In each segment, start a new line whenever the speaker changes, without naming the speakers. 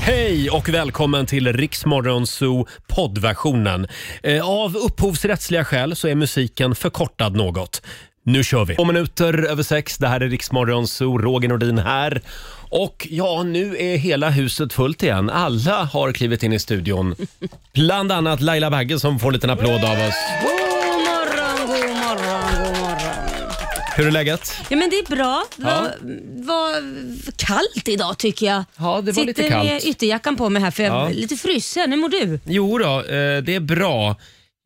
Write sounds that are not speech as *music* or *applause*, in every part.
Hej och välkommen till Riksmorgon Zoo poddversionen. Eh, Av upphovsrättsliga skäl så är musiken förkortad något. Nu kör vi! Två minuter över sex, det här är Riksmorgon Zoo, Roger Nordin här. Och ja, nu är hela huset fullt igen. Alla har klivit in i studion. Bland annat Laila Bagge som får en liten applåd av oss.
God morgon, god morgon, god morgon.
Hur är läget?
Ja, men det är bra. Det
Ja.
var, var kallt idag tycker jag.
Ja, det var
Sitter
lite kallt.
med ytterjackan på mig här för jag
Ja.
är lite frusen. Hur mår du?
Jo då, eh, det är bra.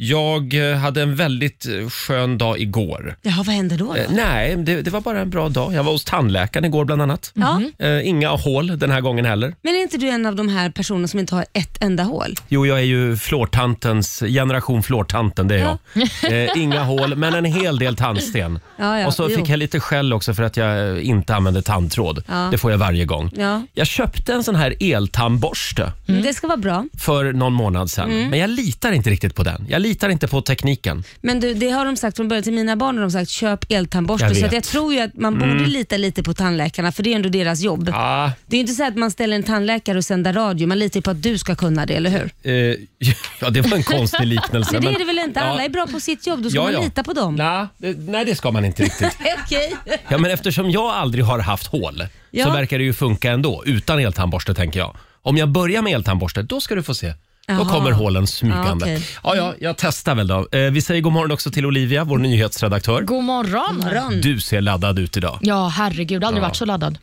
Jag eh, hade en väldigt eh, skön dag igår.
Jaha, vad hände då? då?
Eh, Nej, det, det var bara en bra dag. Jag var hos tandläkaren igår bland annat.
Ja.
Eh, inga hål den här gången heller.
Men är inte du en av de här personerna som inte har ett enda hål?
Jo, jag är ju flårtantens, generation flårtanten, det är
Ja.
jag. *laughs* Eh, inga hål, men en hel del tandsten.
Ja, ja,
Och så
jo.
fick jag lite skäll också för att jag eh, inte använder tandtråd.
Ja.
Det får jag varje gång.
Ja.
Jag köpte en sån här eltandborste
Mm. Det ska vara bra.
för någon månad sedan,
Mm.
men jag litar inte riktigt på den. Jag litar inte på tekniken.
Men du, det har de sagt från början till mina barn, har de sagt köp eltandborste.
Jag vet.
Så
Mm.
att jag tror ju att man borde lita lite på tandläkarna för det är ändå deras jobb.
Ah,
Det är ju inte så att man ställer en tandläkare och sänder radio, man litar ju på att du ska kunna det, eller hur?
eh, *laughs* ja, det var en konstig liknelse.
Men det är
men-
det väl inte?
Ja.
Alla är bra på sitt jobb, då ska
Ja,
man
ja.
lita på dem.
Nej, det, nej, det ska man inte riktigt.
*laughs* Okej.
Ja, men eftersom jag aldrig har haft hål så
Ja.
verkar det ju funka ändå utan eltandborste tänker jag. Om jag börjar med eltandborste, då ska du få se. Då
Jaha.
kommer hålen smygande.
Ja, okej.
ja, ja, jag testar väl då. Eh, vi säger god morgon också till Olivia, vår nyhetsredaktör.
God morgon.
Morgon.
Du ser laddad ut idag.
Ja, herregud. Aldrig varit så laddad.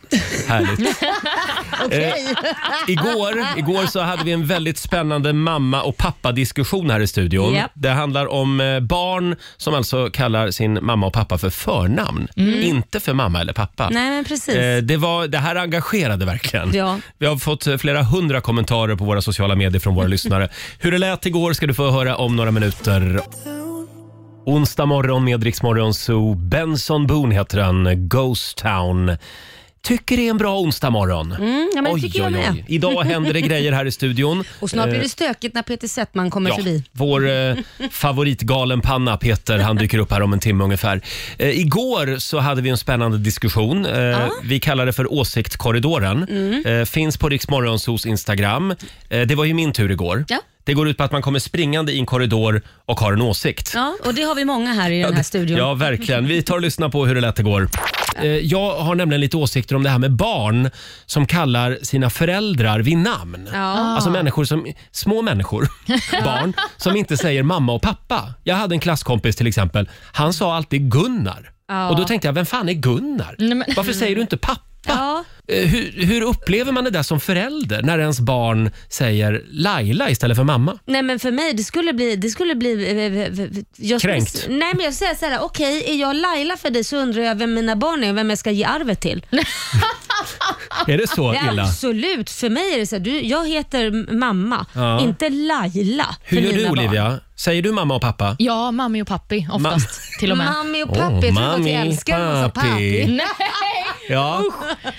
Härligt.
*laughs*
Eh,
Okej.
Igår, igår så hade vi en väldigt spännande mamma och pappa-diskussion här i studion.
Japp.
Det handlar om eh, barn som alltså kallar sin mamma och pappa för förnamn. Inte för mamma eller pappa.
Mm. Nej, men precis.
Eh, Det, var, det här engagerade verkligen.
Ja.
Vi har fått eh, flera hundra kommentarer på våra sociala medier från
*laughs*
våra lyssnare. Hur det lät igår ska du få höra om några minuter. Onsdag morgon med Rix Morgon Zoo. Benson Boone heter han, Ghost Town. Tycker det är en bra onsdag morgon.
Mm, ja, men det tycker jag med.
Idag händer det grejer här i studion.
*laughs* Och snart
Eh,
blir det stökigt när Peter Settman kommer förbi.
Vår eh, favoritgalenpanna Peter, han dyker upp här om en timme ungefär. Eh, igår så hade vi en spännande diskussion. Eh, Vi kallar det för åsiktkorridoren.
Mm.
Eh, finns på Rix Morgonzos Instagram. Eh, det var ju min tur igår.
Ja.
Det går ut på att man kommer springande i en korridor och har en åsikt.
Ja, och det har vi många här i den här studion.
Ja, verkligen. Vi tar och lyssnar på hur det lät igår. Eh, Jag har nämligen lite åsikter om det här med barn som kallar sina föräldrar vid namn.
Ja.
Alltså människor som, små
*laughs*
människor, barn, som inte säger mamma och pappa. Jag hade en klasskompis till exempel. Han sa alltid Gunnar.
Ja.
Och då tänkte jag, vem fan är Gunnar?
Nej, men-
Varför säger du inte pappa?
Ja.
Eh, Hur, hur upplever man det där som förälder när ens barn säger Laila istället för mamma?
Nej men för mig, det skulle bli... Det skulle bli eh, jag skulle,
Kränkt.
Nej men jag säger så här, okej är jag Laila för dig så undrar jag vem mina barn är och vem jag ska ge arvet till.
Är det så
*laughs* Ja,
illa?
absolut, för mig är det så här, du, jag heter mamma,
Ja.
inte Laila
Hur
för
gör du
mina barn.
Olivia? Säger du mamma och pappa?
Ja, mammi och pappi oftast till och med.
Mammi och pappi, jag trodde att jag älskade dem och
*laughs*
sa pappi.
Nej,
Ja,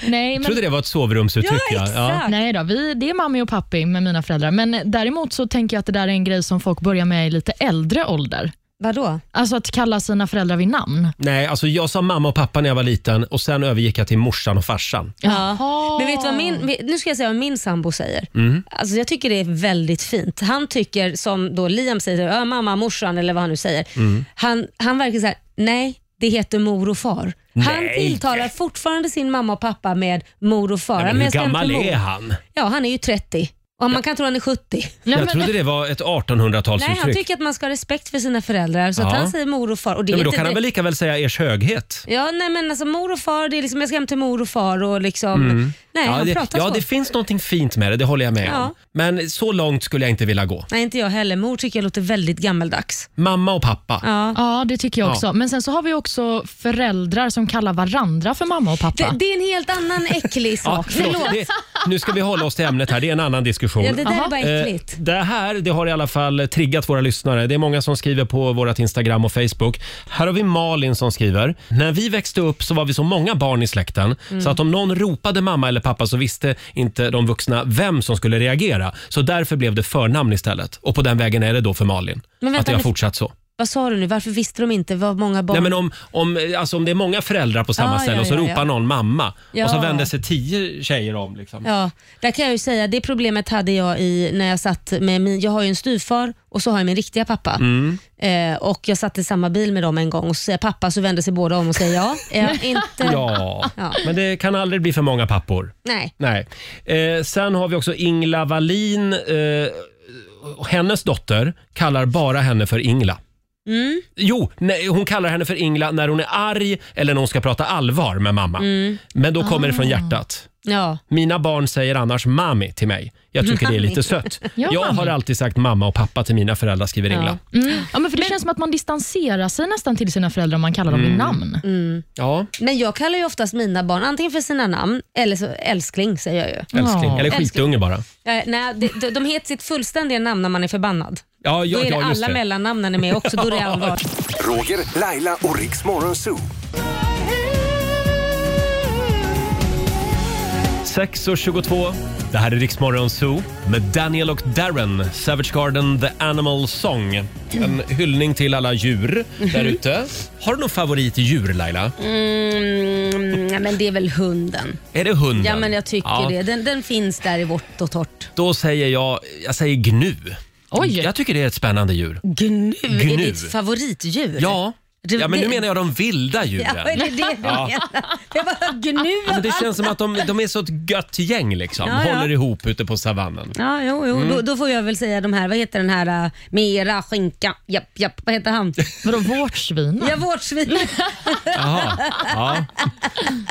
nej,
trodde
men,
det var ett sovrumsuttryck.
Ja, exakt.
nej då. Vi, det är mammi och pappi med mina föräldrar. Men däremot så tänker jag att det där är en grej som folk börjar med i lite äldre ålder.
Vadå?
Alltså att kalla sina föräldrar vid namn.
Nej, alltså jag sa mamma och pappa när jag var liten och sen övergick jag till morsan och farsan.
Jaha.
Men vet du vad min, nu ska jag säga vad min sambo säger.
Mm.
Alltså jag tycker det är väldigt fint. Han tycker som då Liam säger, ja, mamma, morsan eller vad han nu säger.
Mm.
Han, han verkar så här, nej det heter mor och far. Han
Nej.
tilltalar fortfarande sin mamma och pappa med mor och far.
Nej,
Men
men hur
jag ska hem till
gammal
mor.
är han?
Ja, han är ju 30. Och man kan tro han är 70.
Nej,
Jag
men,
trodde det var ett
Nej, han
1800-talsuttryck.
tycker att man ska ha respekt för sina föräldrar. Så
Ja.
att han säger mor och far. Och det
Ja,
är
men då
inte
kan han
direkt-
väl lika väl säga ers höghet?
Ja, nej men alltså mor och far, det är liksom, jag ska hem till mor och far och liksom... Nej,
Mm. Ja,
han
det,
pratar
ja,
så.
det finns någonting fint med det, det håller jag med om.
Ja.
Men så långt skulle jag inte vilja gå.
Nej, inte jag heller. Mor tycker jag låter väldigt gammeldags.
Mamma och pappa.
Ja.
ja, det tycker jag också. Men sen så har vi också föräldrar som kallar varandra för mamma och pappa.
Det, det är en helt annan äcklig
*laughs* Ja,
sak.
förlåt,
*laughs* Förlåt.
det, nu ska vi hålla oss till ämnet här, det är en annan diskussion.
Ja, det där är
Jaha.
bara
Eh,
äckligt.
det här det har i alla fall triggat våra lyssnare. Det är många som skriver på vårt Instagram och Facebook. Här har vi Malin som skriver. När vi växte upp så var vi så många barn i släkten
Mm.
så att om någon ropade mamma eller pappa så visste inte de vuxna vem som skulle reagera. Så därför blev det förnamn istället. Och på den vägen är det då för Malin.
Men vänta,
att det har
nu-
fortsatt så.
Vad sa du nu? Varför visste de inte vad många barn...
Nej, men om, om, alltså om det är många föräldrar på samma
Ja,
ställe
ja,
och så
ja,
ropar
ja.
någon mamma och så
Ja.
vänder sig tio tjejer om. Liksom.
Ja, där kan jag ju säga, det problemet hade jag i när jag satt med min, jag har ju en styvfar och så har jag min riktiga pappa.
Mm.
Eh, och jag satt i samma bil med dem en gång och så säger jag pappa så vänder sig båda om och säger ja.
*laughs*
Är jag inte...
Ja.
Ja.
men det kan aldrig bli för många pappor.
Nej.
Nej. Eh, sen har vi också Ingla Wallin. Eh, och hennes dotter kallar bara henne för Ingla.
Mm.
Jo, nej, hon kallar henne för Ingla när hon är arg eller när hon ska prata allvar med mamma.
Mm.
Men då kommer det
Ah.
från hjärtat.
Ja.
Mina barn säger annars mami till mig. Jag tycker det är lite
Mami.
sött.
Ja,
jag
mami.
har alltid sagt mamma och pappa till mina föräldrar, skriver
Ja.
Ingla.
Mm. Ja, men för det känns som att man distanserar sig nästan till sina föräldrar om man kallar dem i namn.
Ja,
Men jag kallar ju oftast mina barn antingen för sina namn eller så älskling säger jag ju.
älskling.
Ja.
Eller
Älskling.
skitunge bara.
Eh, nej, de, de, de heter sitt fullständiga namn när man är förbannad.
Ja, ja,
Då är det
ja, just
alla
det.
mellannamnen är med
*laughs*
också. Då är det allvar.
Roger, Laila och Riks Morgonzoo.
6.22. Det här är Riksmorgon Zoo med Daniel och Darren. Savage Garden, The Animal Song. En hyllning till alla djur där ute. Har du någon favorit i djur, Laila?
Mm, ja, men det är väl hunden.
Är det hunden?
Ja, men jag tycker
Ja,
det. Den, den finns där i vått och torrt.
Då säger jag, jag säger gnu.
Oj.
Jag tycker det är ett spännande djur.
Gnu,
Gnu.
är ditt favoritdjur?
Ja,
Det-
ja men nu
det-
menar jag de vilda
Ja,
djuren.
är det det du
Ja.
menar? Jag bara, gnu.
Men det känns som att de, de är så ett gött gäng liksom.
Ja, ja.
Håller ihop ute på savannen.
Ja, jo,
Mm.
jo. Då, då får jag väl säga de här, vad heter den här äh, mera skinka, japp, japp, vad
*laughs*
heter han?
Vadå vårtsvina?
Ja, vårt svin.
Jaha. Ja.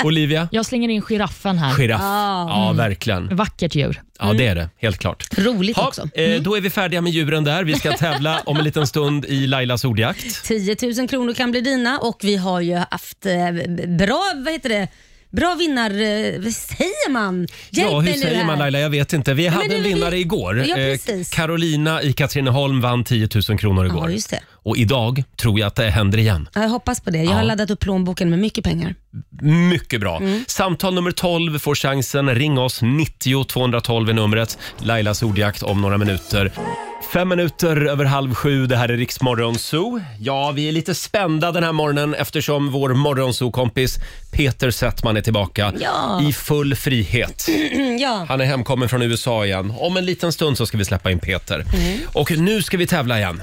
Olivia?
Jag slänger in giraffen här.
Giraff. Ja, verkligen.
Vackert djur.
Ja, det är det. Helt klart.
Roligt
Ha,
också. Mm.
eh, då är vi färdiga med djuren där. Vi ska tävla om en liten stund i Lailas ordjakt.
10 000 kronor kan bli dina och vi har ju haft eh, bra, vad heter det, bra vinnar... eh, Vad säger man? Hjälp
ja, hur
mig nu
säger
här.
man Laila? Jag vet inte. Vi hade
det
en
är väl
vinnare
vi-
igår.
Ja,
Eh,
precis.
Carolina i Katrineholm vann 10 000 kronor igår.
Ja, just det.
Och idag tror jag att det händer igen.
Ja, jag hoppas på det. Jag har laddat upp plånboken med mycket pengar.
Mycket bra. Samtal nummer 12 får chansen. Ring oss. 90 212 är numret. Lailas ordjakt om några minuter. Fem minuter över halv sju. Det här är Riksmorgon Zoo. Ja, vi är lite spända den här morgonen eftersom vår morgonzoo-kompis Peter Settman är tillbaka
Ja.
i full frihet.
*clears throat* ja.
Han är hemkommen från USA igen. Om en liten stund så ska vi släppa in Peter. Och nu ska vi tävla igen.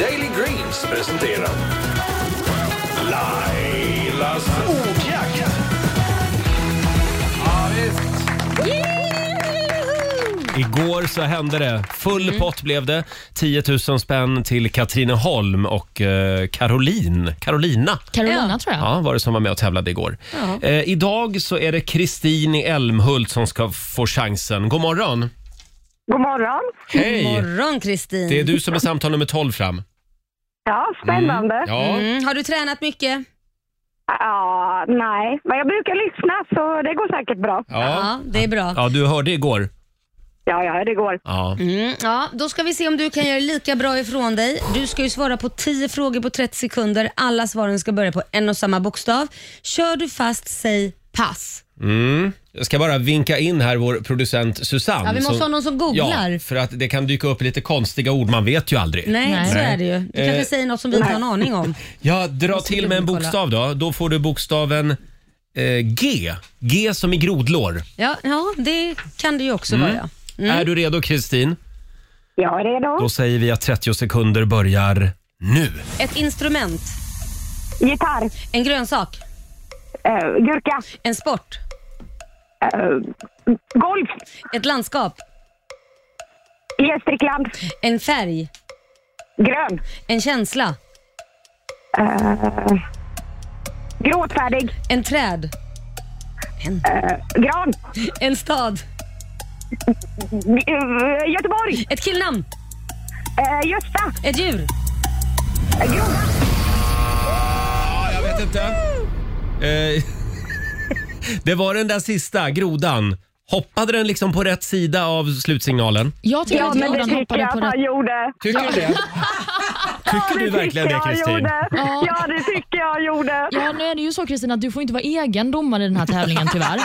Daily Greens presenterar Lailas ordjakt. Ja, visst.
Igår så hände det. Full
Mm.
pott blev det. 10 000 spänn till Katrineholm och eh, Caroline. Carolina
Carolina
Ja.
tror jag.
ja, var det som var med och tävlade igår. Eh, idag så är det Kristin i Älmhult som ska få chansen. God morgon!
God morgon.
God
Hej!
morgon Kristin.
Det är du som är samtal nummer 12 fram.
Ja, spännande.
Ja.
Mm, har du tränat mycket?
Ja, nej, men jag brukar lyssna så det går säkert bra.
Ja.
det är bra.
ja, du hörde igår.
Ja, ja, det går.
Ja.
Mm, ja, då ska vi se om du kan göra lika bra ifrån dig. Du ska ju svara på 10 frågor på 30 sekunder. Alla svaren ska börja på en och samma bokstav. Kör du fast, säg pass.
Mm. Jag ska bara vinka in här vår producent Susanne.
Ja, vi måste
som-
ha någon som googlar.
Mm, Ja, för att det kan dyka upp lite konstiga ord. Man vet ju aldrig.
Nej,
Nej.
så är det ju. Du kanske
Eh,
säger något som vi inte har en aning om.
Ja, dra
Måste
till med en
dubbelkolla.
bokstav då. Då får du bokstaven eh, G. G som i grodlår.
Ja, ja det kan det ju också vara.
Mm.
Mm.
Är du redo Kristin?
Jag är redo.
Då säger vi att 30 sekunder börjar nu.
Ett instrument,
Gitarr.
en grönsak,
Eh, gurka.
en sport,
Eh, golf.
ett landskap,
Gästrikland.
en färg,
Grön.
en känsla,
Gråtfärdig. eh,
en träd,
Gran.
en stad,
Eh, Göteborg.
ett killnamn,
Eh, Gösta.
ett djur.
Eh, groda.
Ja, jag vet inte. Eh, *laughs* det var den där sista, grodan. Hoppade den liksom på rätt sida av slutsignalen?
Jag tycker
Ja,
att
men det
grodan
tycker
hoppade
jag
på
att
det.
han gjorde.
Tycker du det? *laughs* Tycker du verkligen det
jag
Kristin?
gjorde.
Ja.
Ja, det tycker jag gjorde.
Ja, nu är det ju så Kristina att du får inte vara egen domare i den här tävlingen
*laughs*
tyvärr.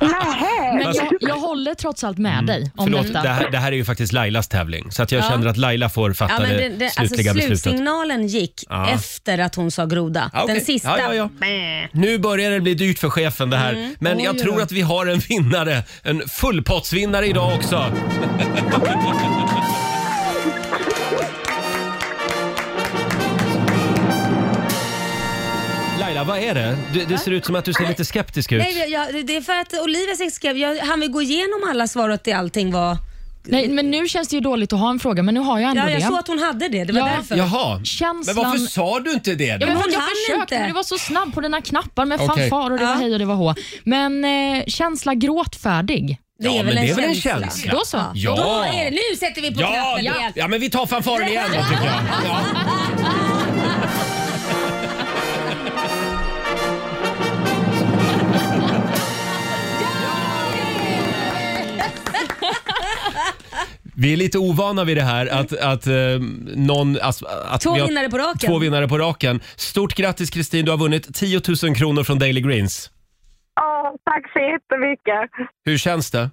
Nej.
Men jag, jag håller trots allt med dig om
Mm. Förlåt, det
detta.
här, det här är ju faktiskt Lailas tävling så att jag känner att Laila får fatta
Ja, men
det,
det, det, alltså,
slutliga beslutet.
slutsignalen gick
Ja.
efter att hon sa groda.
Ja, Ah, okej.
Den sista...
Ja, ja, ja. Nu börjar det bli dyrt för chefen det här. Men jag
Oj,
tror
oj.
att vi har en vinnare. En fullpottsvinnare idag också. Laila, vad är det? Det, det ser ut som att du ser lite skeptisk ut.
Nej, jag, jag- det är för att Olivia säkert skrev, jag, han vill gå igenom alla svar och att det allting var...
Nej, men nu känns det ju dåligt att ha en fråga, men nu har jag ändå
Ja, jag
det.
såg att hon hade det. Det var
Ja.
därför.
Jaha,
Känslan-
men varför sa du inte det
Ja,
då?
men
Men
hon,
hon
jag
hann
försökte,
inte.
men du var så snabb på dina knappar med
Okej.
fanfar och det var
Ja.
hej och det var hå. Men eh, känsla gråtfärdig.
Det
Ja,
är väl
men
en
det är väl en
känsla.
känsla.
Då så.
Ja.
Då är det, nu sätter vi på
Ja,
knappen
ja.
igen.
ja, men vi tar fanfaren igen då tycker jag. Ja. Vi är lite ovana vid det här att, att, eh, någon, alltså, att
Två
vi har
vinnare på raken.
två vinnare på raken. Stort grattis Kristin, du har vunnit 10 000 kronor från Daily Greens.
Ja, tack så jättemycket.
Hur känns det?
Uh,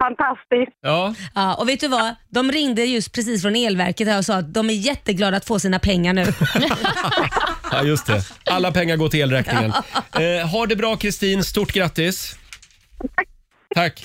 fantastiskt.
Ja,
Ja, och vet du vad? De ringde just precis från elverket här och sa att de är jätteglada att få sina
*laughs*
pengar nu.
ja just det. Alla pengar går till elräkningen. Eh, ha det bra Kristin, stort grattis. Tack.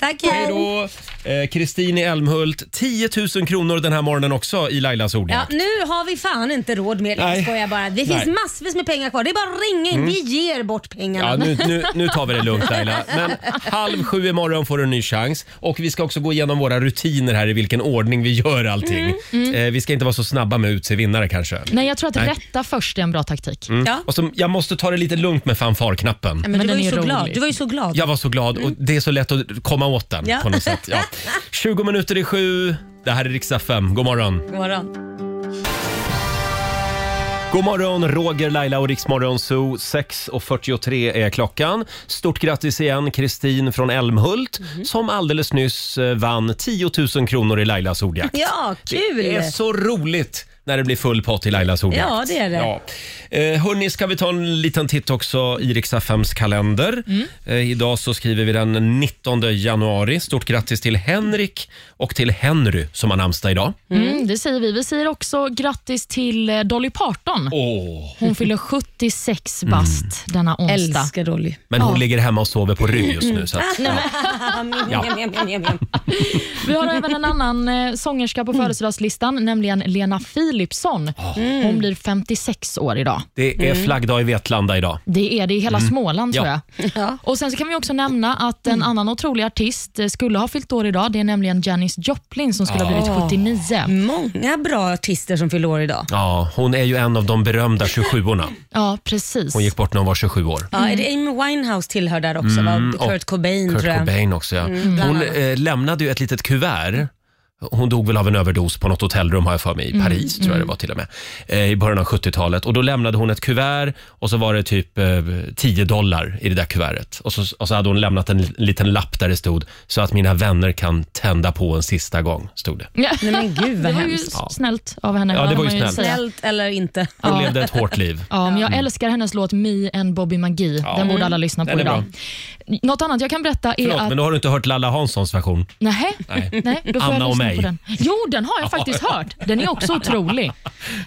Tack,
Hej
hej.
då. Eh, Kristin i Älmhult, 10 000 kronor den här morgonen också i Lailas
Ja,
ordjakt.
nu har vi fan inte råd med det.
Nej.
Jag skojar bara. Det finns
Nej. Mm.
massvis med pengar kvar. Det är bara att ringa in. Vi ger bort pengarna.
Ja, nu, nu, nu tar vi det lugnt Laila. Men halv sju imorgon får du en ny chans. Och vi ska också gå igenom våra rutiner här i vilken ordning vi gör allting. Eh, vi ska inte vara så snabba med att utse vinnare kanske.
Nej, jag tror att
Nej. Mm.
rätta först är en bra taktik.
Ja.
Och så, jag måste ta det lite lugnt med fanfarknappen.
Men,
Men
du, var
den
ju
är
så
rolig.
glad. du var ju så glad.
Jag var så glad och det är så lätt att komma åt den
Mm. Ja.
på något sätt.
*laughs*
Ja. 20 minuter i sju. Det här är riksdag 5. God morgon!
God morgon.
God morgon, Roger, Laila och Riksmorgon Zoo. 6.43 är klockan. Stort grattis igen Kristin från Älmhult
Mhm.
som alldeles nyss eh, vann 10 000 kronor i Lailas ordjakt.
Ja, kul!
Det är så roligt när det blir full pott i Lailas ordjakt.
Ja, det är det.
Ja. Eh, hörni, ska vi ta en liten titt också i Riksaffems kalender. Eh, idag så skriver vi den 19 januari. Stort grattis till Henrik och till Henry som har namnsdag idag.
Mm, det säger vi. Vi säger också grattis till eh, Dolly Parton.
Åh. *laughs*
Hon fyller 76 bast denna onsdag.
Älskar Dolly.
Men hon ligger hemma och sover på rygg just nu. Så att, ja.
*laughs*
Ja.
Vi har även en annan eh, sångerska
Mm.
på födelsedagslistan, nämligen Lena Philipsson.
Ah. Mm.
Hon blir 56 år idag.
Det är flaggdag i Vetlanda idag.
Det är det i hela Småland tror
Mm. Ja. Mm.
jag.
Ja.
Och Sen så kan vi också nämna att en annan otrolig artist eh, skulle ha fyllt år idag. Det är nämligen Janis Joplin som skulle ha
Ah.
blivit
Mm.
79.
Många bra artister som fyller år idag.
Ja, hon är ju en av de berömda 27orna.
Ja, precis.
Hon gick bort när hon var 27 år.
Ja, är det Amy Winehouse tillhör där också? va? Kurt
Mm. och
Cobain
Kurt
tror jag.
Cobain också, ja.
Mm,
Hon eh, lämnade ju ett litet kuvert. Hon dog väl av en överdos på något hotellrum har jag för mig,
Mm,
i Paris tror jag det var till och med. Eh, I början av 70-talet. Och då lämnade hon ett kuvert och så var det typ eh, 10 dollar i det där kuvertet. Och så, och så hade hon lämnat en li- liten lapp där det stod “Så att mina vänner kan tända på en sista gång”. stod det.
Ja.
Nej men gud vad
*laughs* Det var ju
hemskt.
s- snällt av henne.
Ja, det var
kan
ju
man
snällt.
säga.
Snällt eller inte.
Hon levde ett hårt liv.
Ja, men jag älskar hennes låt Me and Bobby Magi. Den borde alla lyssna på
Den är
idag. Något annat jag kan berätta är
Förlåt,
att...
men då har du inte hört Lalla Hanssons version.
Nej.
Nej.
Nej. då får
Anna
jag
och
lyssna
mig.
På den. Jo, den har jag faktiskt hört. Den är också otrolig.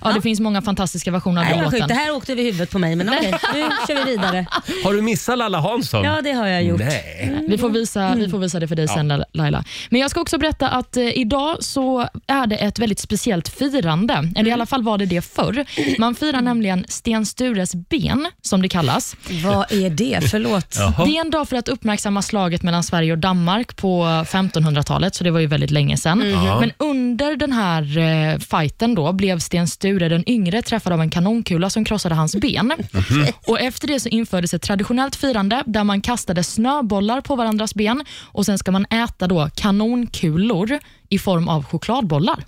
Ja, det finns många fantastiska versioner av
Nej,
den
vad sjukt. Det
låten.
här åkte över huvudet på mig, men okej. Nu kör vi vidare.
Har du missat Lalla Hansson?
Ja, det har jag gjort.
Nej.
Vi får, visa,
Mm.
vi får visa det för dig sen La- Laila. Men jag ska också berätta att eh, idag så är det ett väldigt speciellt firande. Eller i
Mm.
alla fall var det det förr. Man firar nämligen Sten Stures ben, som det kallas.
Vad är det? Förlåt.
Jaha.
Det är en dag för att uppmärksamma slaget mellan Sverige och Danmark på 1500-talet, så det var ju väldigt länge sedan.
Mhm.
Men under den här eh, fighten då blev Sten Sture den yngre träffad av en kanonkula som krossade
*laughs*
hans ben.
Mhm.
Och Efter det så infördes ett traditionellt firande där man kastade snöbollar på varandras ben och sen ska man äta då kanonkulor i form av chokladbollar.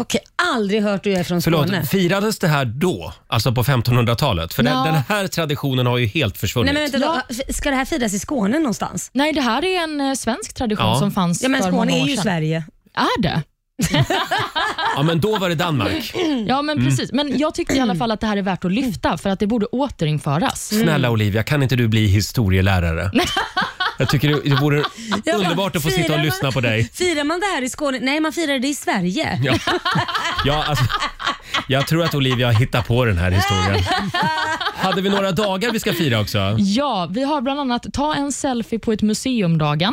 Okej, aldrig hört du är från
Förlåt,
Skåne.
firades det här då? Alltså på 1500-talet? För den,
Ja.
den här traditionen har ju helt försvunnit.
Nej, men vänta, då. Ah, Ska det här firas i Skåne någonstans?
Nej, det här är en eh, svensk tradition
Ja.
som fanns
Ja, men
för många
Skåne
år
är ju
sedan.
Sverige.
Är det?
Ja, men då var det Danmark.
Ja, men
Mm.
precis. Men jag tyckte i alla fall att det här är värt att lyfta för att det borde återinföras.
Snälla Olivia, kan inte du bli
*laughs*
historielärare? Jag tycker det, det vore underbart att få sitta och
Firar
lyssna
man-
på dig.
*laughs*
Mm.
Firar man det här i Skåne? Nej, man firar det i Sverige.
Ja. Ja, alltså, jag tror att Olivia hittar på den här historien. Hade vi några dagar vi ska fira också?
Ja, vi har bland annat ta en selfie på ett museumdagen.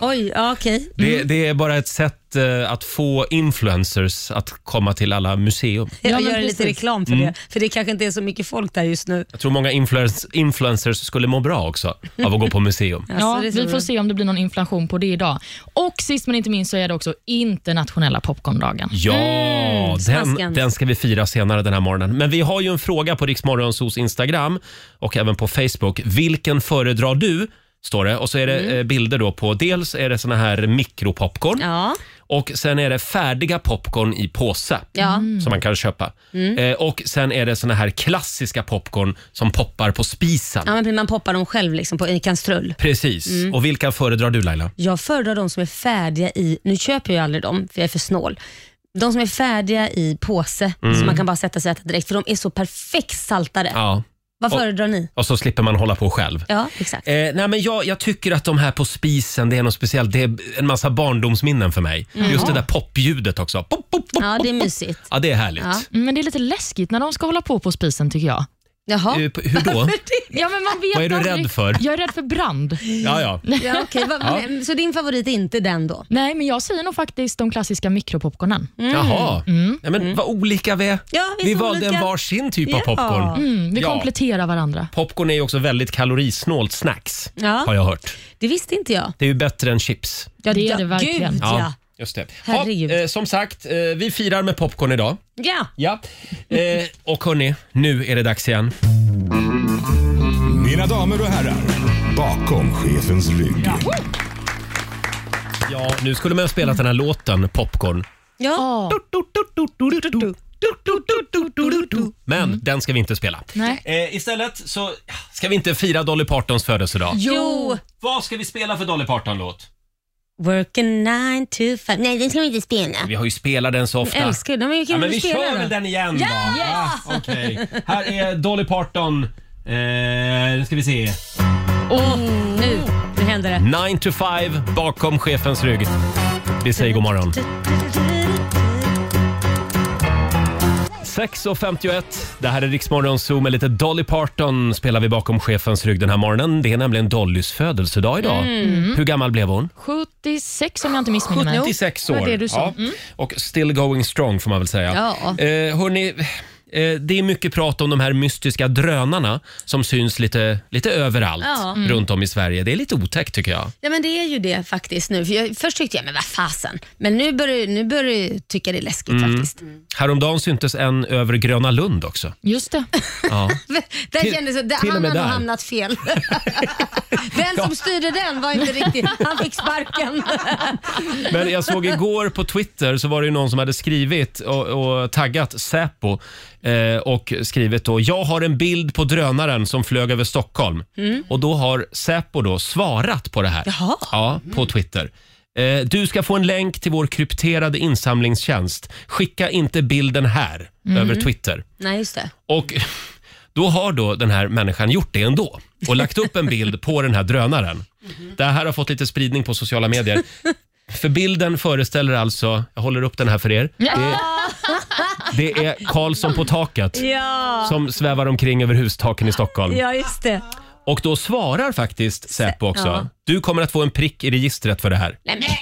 Oj, ja, okej.
Det, det är bara ett sätt eh, att få influencers att komma till alla museum.
Jag
men
gör
precis.
lite reklam för
Mm.
det, för det kanske inte är så mycket folk där just nu.
Jag tror många influens, influencers skulle må bra också av att gå på museum.
Ja,
Alltså, det tror
vi får
jag.
se om det blir någon inflation på det idag. Och sist men inte minst så är det också internationella popcorndagen.
Ja, den,
Mm, smaskens.
den ska vi fira senare den här morgonen. Men vi har ju en fråga på Riksmorgonsos Instagram och även på Facebook. Vilken föredrar du? Står det. Och så är det eh, bilder då på, dels är det såna här mikropopcorn
Mm. Ja,
och sen är det färdiga popcorn i påse
ja. Mm.
som man kan köpa. Eh, och sen är det såna här klassiska popcorn som poppar på spisen.
ja Mm. men man poppar dem själv liksom på, i kastrull.
Precis. Och vilka föredrar du Laila?
Jag föredrar de som är färdiga i, nu köper jag aldrig dem för jag är för snål, de som är färdiga i påse som man kan bara sätta sig och äta direkt för de är så perfekt saltade.
Mm. Ja.
Vad
och-
föredrar ni?
Och så slipper man hålla på själv.
Ja, exakt.
Eh, nej men jag, jag tycker att de här på spisen, det är något speciellt. Det är en massa barndomsminnen för mig. Just det där popljudet också. Pop, pop, pop.
Mm. Ja, det är mysigt.
Ja, det är härligt.
Ja.
Mm, Men det är lite läskigt när de ska hålla på på spisen tycker jag.
Jaha.
Eh, p- hur då?
Ja, men man vet
Vad är du
aldrig.
rädd för?
Jag är rädd för brand.
Ja, ja.
Ja, okej. Va- men- Så din favorit är inte den då?
Nej, men jag säger nog faktiskt de klassiska mikropopcornen.
Jaha. Nej, men vad olika vi är.
Mm. Ja, vi är
vi
så
valde en
olika.
varsin typ av
Ja.
popcorn.
Mm, vi
Ja.
kompletterar varandra.
Popcorn är ju också väldigt kalorisnålt snacks,
Ja.
har jag hört.
Det visste inte jag.
Det är ju bättre än chips.
Ja,
Det är
ja,
det verkligen.
Gud, ja.
Just det. Ja,
Herregud.
eh, som sagt, eh, vi firar med popcorn idag.
Ja.
Ja. Eh, och hörni, nu är det dags igen.
Mina damer och herrar, bakom chefens rygg.
Ja, nu skulle man ha spelat den här låten, Popcorn.
ja.
Ja.
Men den ska vi inte spela.
Nej.
Eh, istället så ska vi inte fira Dolly Partons födelsedag.
Jo.
Vad ska vi spela för Dolly Parton-låt?
Working nine to five. Nej, den ska vi inte spela.
Vi har ju spelat den så ofta.
Älskar den, men vi kan
ja,
väl
men vi
spela
kör
den.
väl den igen ja! då? Ja! Okej. Här är Dolly Parton. Eh, nu ska vi se.
Åh, nu, nu händer det.
9 to 5 bakom chefens rygg. Vi säger god morgon. 6.51, det här är Riksmorgon Zoom med lite Dolly Parton spelar vi bakom chefens rygg den här morgonen. Det är nämligen Dollys födelsedag idag. Hur gammal blev hon?
76 om jag inte missminner mig.
76
det
år.
var det du sa.
Ja. Och still going strong får man väl säga.
Ja.
Eh, hörni, eh, det är mycket prat om de här mystiska drönarna som syns lite, lite överallt
Ja.
runt om i Sverige. Det är lite otäckt tycker jag.
Ja, men det är ju det faktiskt nu. För jag, först tyckte jag, men vad fasen. Men nu börjar, nu börjar jag tycka det är läskigt
Mm.
faktiskt. *laughs*
Häromdagen syntes en över Gröna Lund också.
Just det.
Ja.
Den
Till-
kändes, den,
till och
han
med
har nog
där. *laughs*
hamnat fel. den som styrde den var inte riktigt, han fick sparken.
*laughs* Men jag såg igår på Twitter så var det ju någon som hade skrivit och, och taggat Säpo eh, och skrivit då “Jag har en bild på drönaren som flög över Stockholm” och då har Säpo då svarat på det här
Jaha.
Ja, på Twitter. Eh, du ska få en länk till vår krypterade insamlingstjänst. Skicka inte bilden här över Twitter.
Nej, just det.
Och då har då den här människan gjort det ändå och lagt upp en bild på den här drönaren. Det här har fått lite spridning på sociala medier. För bilden föreställer alltså, jag håller upp den här för er. Det, det är Karlsson på taket
Ja,
som svävar omkring över hustaken i Stockholm.
ja just det.
Och då svarar faktiskt Säpo också.
Ja.
Du kommer att få en prick i registret för det här.
Nej, men, eh.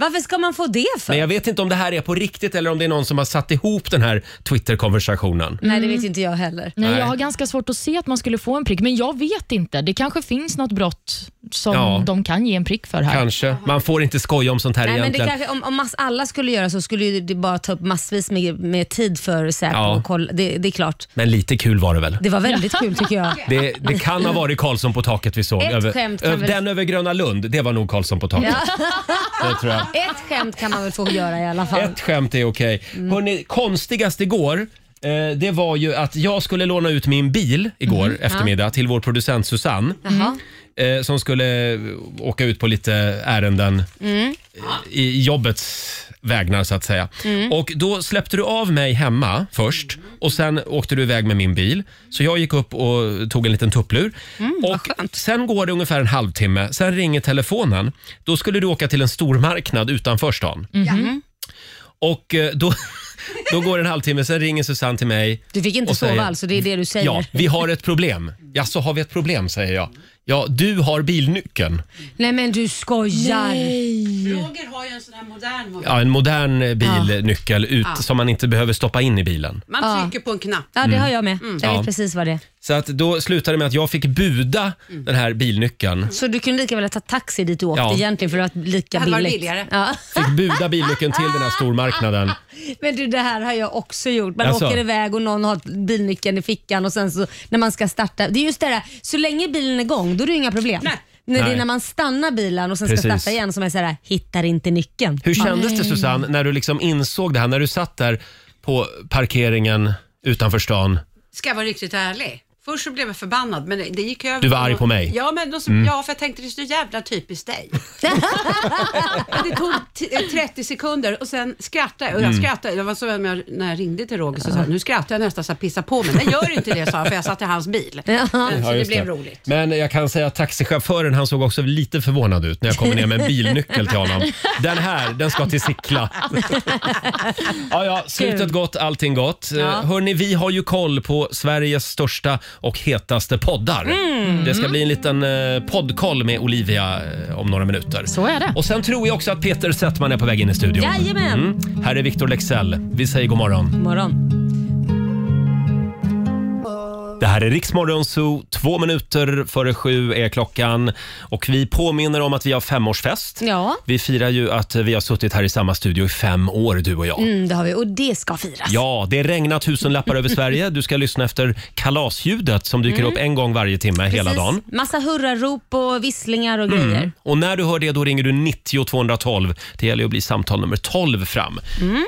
Varför ska man få det för?
Men jag vet inte om det här är på riktigt eller om det är någon som har satt ihop den här Twitter-konversationen.
Nej, det vet inte jag heller.
Nej,
Mm. Nej.
Jag har ganska svårt att se att man skulle få en prick, men jag vet inte. Det kanske finns något brott som
Ja.
de kan ge en prick för här.
Kanske. Man får inte skoja om sånt här
Nej, men det
egentligen.
kanske, om om mass, alla skulle göra så skulle ju det bara ta upp massvis med, med tid för Säpo.
Ja.
och kolla. Det, det är klart.
Men lite kul var det väl?
Det var väldigt kul
*laughs*
tycker jag.
Det, det kan ha varit Karlsson på taket vi såg.
Ett skämt kan
över,
väl-
Den över Gröna Lund, det var nog Karlsson på taket. Det tror jag.
Ett skämt kan man väl få göra i alla fall.
Ett skämt är okej.
Mm.
Hörrni, konstigast igår eh, det
Mm.
var ju att jag skulle låna ut min bil igår eftermiddag till vår producent Susanne.
Jaha.
eh, som skulle åka ut på lite ärenden eh, i jobbets vägnar så att säga. Och då släppte du av mig hemma först och sen åkte du iväg med min bil. Så jag gick upp och tog en liten tupplur. och sen går det ungefär en halvtimme, sen ringer telefonen. Då skulle du åka till en stormarknad utanför stan. Och eh, då, *laughs* då går det en halvtimme, sen ringer Susanne till mig.
Du fick inte
och
sova
säger-
alls, så det är det du säger.
Ja, vi har ett problem. Ja, så har vi ett problem, säger jag. Ja, du har bilnyckeln.
Nej men du skojar.
Roger har ju en sån här modern mobil.
Ja, en modern eh, bilnyckel ut, som man inte behöver stoppa in i bilen.
Man trycker på en knapp.
Ja, det har jag med.
Mm.
Jag vet precis vad det är.
Så att då slutade det med att jag fick buda den här bilnyckeln.
Så du kunde lika väl ha tagit taxi dit du åkte
Ja.
egentligen för det var lika
hade varit
billigt.
billigare.
Ja.
Fick buda bilnyckeln till den här stormarknaden.
Men du, det här har jag också gjort. Man
Jaså?
åker iväg och någon har bilnyckeln i fickan och sen så när man ska starta. Det är just det där, så länge bilen är igång då är det inga problem.
Nej.
När det
Nej.
är när man stannar bilen och sen
Precis.
ska starta igen som är så här, hittar inte nyckeln.
Hur kändes det Susanne, när du liksom insåg det här? När du satt där på parkeringen utanför stan.
Ska jag vara riktigt ärlig? Först så blev jag förbannad, men det, det gick över.
Du var arg på mig. Mm.
Ja, men då, så- ja, för jag tänkte det är så jävla typiskt dig. *laughs* Men det tog t- eh, 30 sekunder och sen skrattade jag. Och jag
Mm.
skrattade. Det var så när jag, när jag ringde till Roger så sa jag, nu skrattar jag nästan så jag pissar på mig. Men gör inte det, sa jag, för jag satt i hans bil. Men, så det
just
blev roligt.
Men jag kan säga att taxichauffören han såg också lite förvånad ut när jag kom ner med en bilnyckel till honom. Den här, den ska till Sickla. ja, ja, slutet
Kul.
gott, allting gott. Ja. Hörni, vi har ju koll på Sveriges största och hetaste poddar. Det ska bli en liten eh, poddkoll med Olivia eh, om några minuter.
Så är det.
Och sen tror jag också att Peter Settman är på väg in i studion. Mm.
Jajamän!
Här är Victor Lexell. Vi säger god morgon.
God *laughs* morgon.
Det här är Riksmorgon Zoo. Två minuter före sju är klockan. Och vi påminner om att vi har femårsfest.
Ja.
Vi firar ju att vi har suttit här i samma studio i fem år, du och jag.
Mm, det har vi och det ska firas.
Ja, det regnar tusenlappar
*laughs*
över Sverige. Du ska lyssna efter kalasljudet som dyker upp en gång varje timme hela
Mm. Precis.
dagen. Mm.
Massa hurrarop och visslingar och grejer.
Och när du hör det då ringer du 90 212. Det gäller ju att bli samtal nummer 12 fram.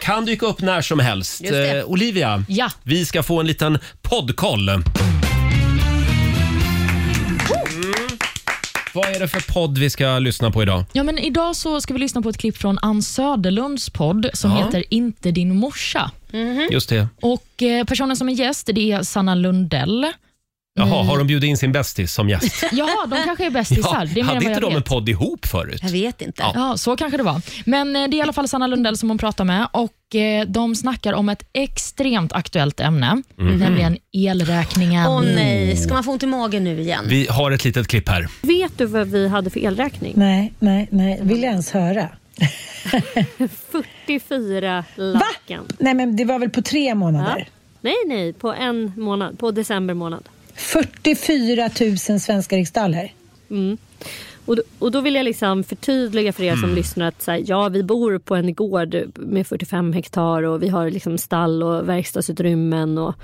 Kan dyka upp när som helst.
Just det.
Eh, Olivia,
Mm. Ja.
vi ska få en liten poddkoll. Mm. Vad är det för podd vi ska lyssna på idag?
Ja, men idag så ska vi lyssna på ett klipp från Ann Söderlunds podd som
Ja.
heter Inte din morsa. Mm.
Just det.
Och eh, Personen som är gäst det är Sanna Lundell.
Jaha, har de bjudit in sin bästis som gäst?
Jaha, de
*laughs*
kanske är bästisar. Mm. *laughs* det är mer än
hade
vad
inte
jag
de en
vet.
podd ihop förut?
Jag vet inte.
Ja, så kanske det var. Men eh, det är i alla fall Sanna Lundell som hon pratar med och eh, de snackar om ett extremt aktuellt ämne,
Mhm.
nämligen elräkningen.
Åh nej, ska man få ont i magen nu igen?
Mm. Vi har ett litet klipp här.
Vet du vad vi hade för elräkning?
Nej, nej, nej. Vill jag ens
*laughs*
höra?
44 lacken.
Nej, men det var väl på tre månader?
Nej, nej, på en månad, på december månad.
44 000 svenska riksdaler.
Mm. Och, då- och då vill jag liksom förtydliga för er som lyssnar att så här, ja, vi bor på en gård med 45 hektar och vi har liksom stall och verkstadsutrymmen och,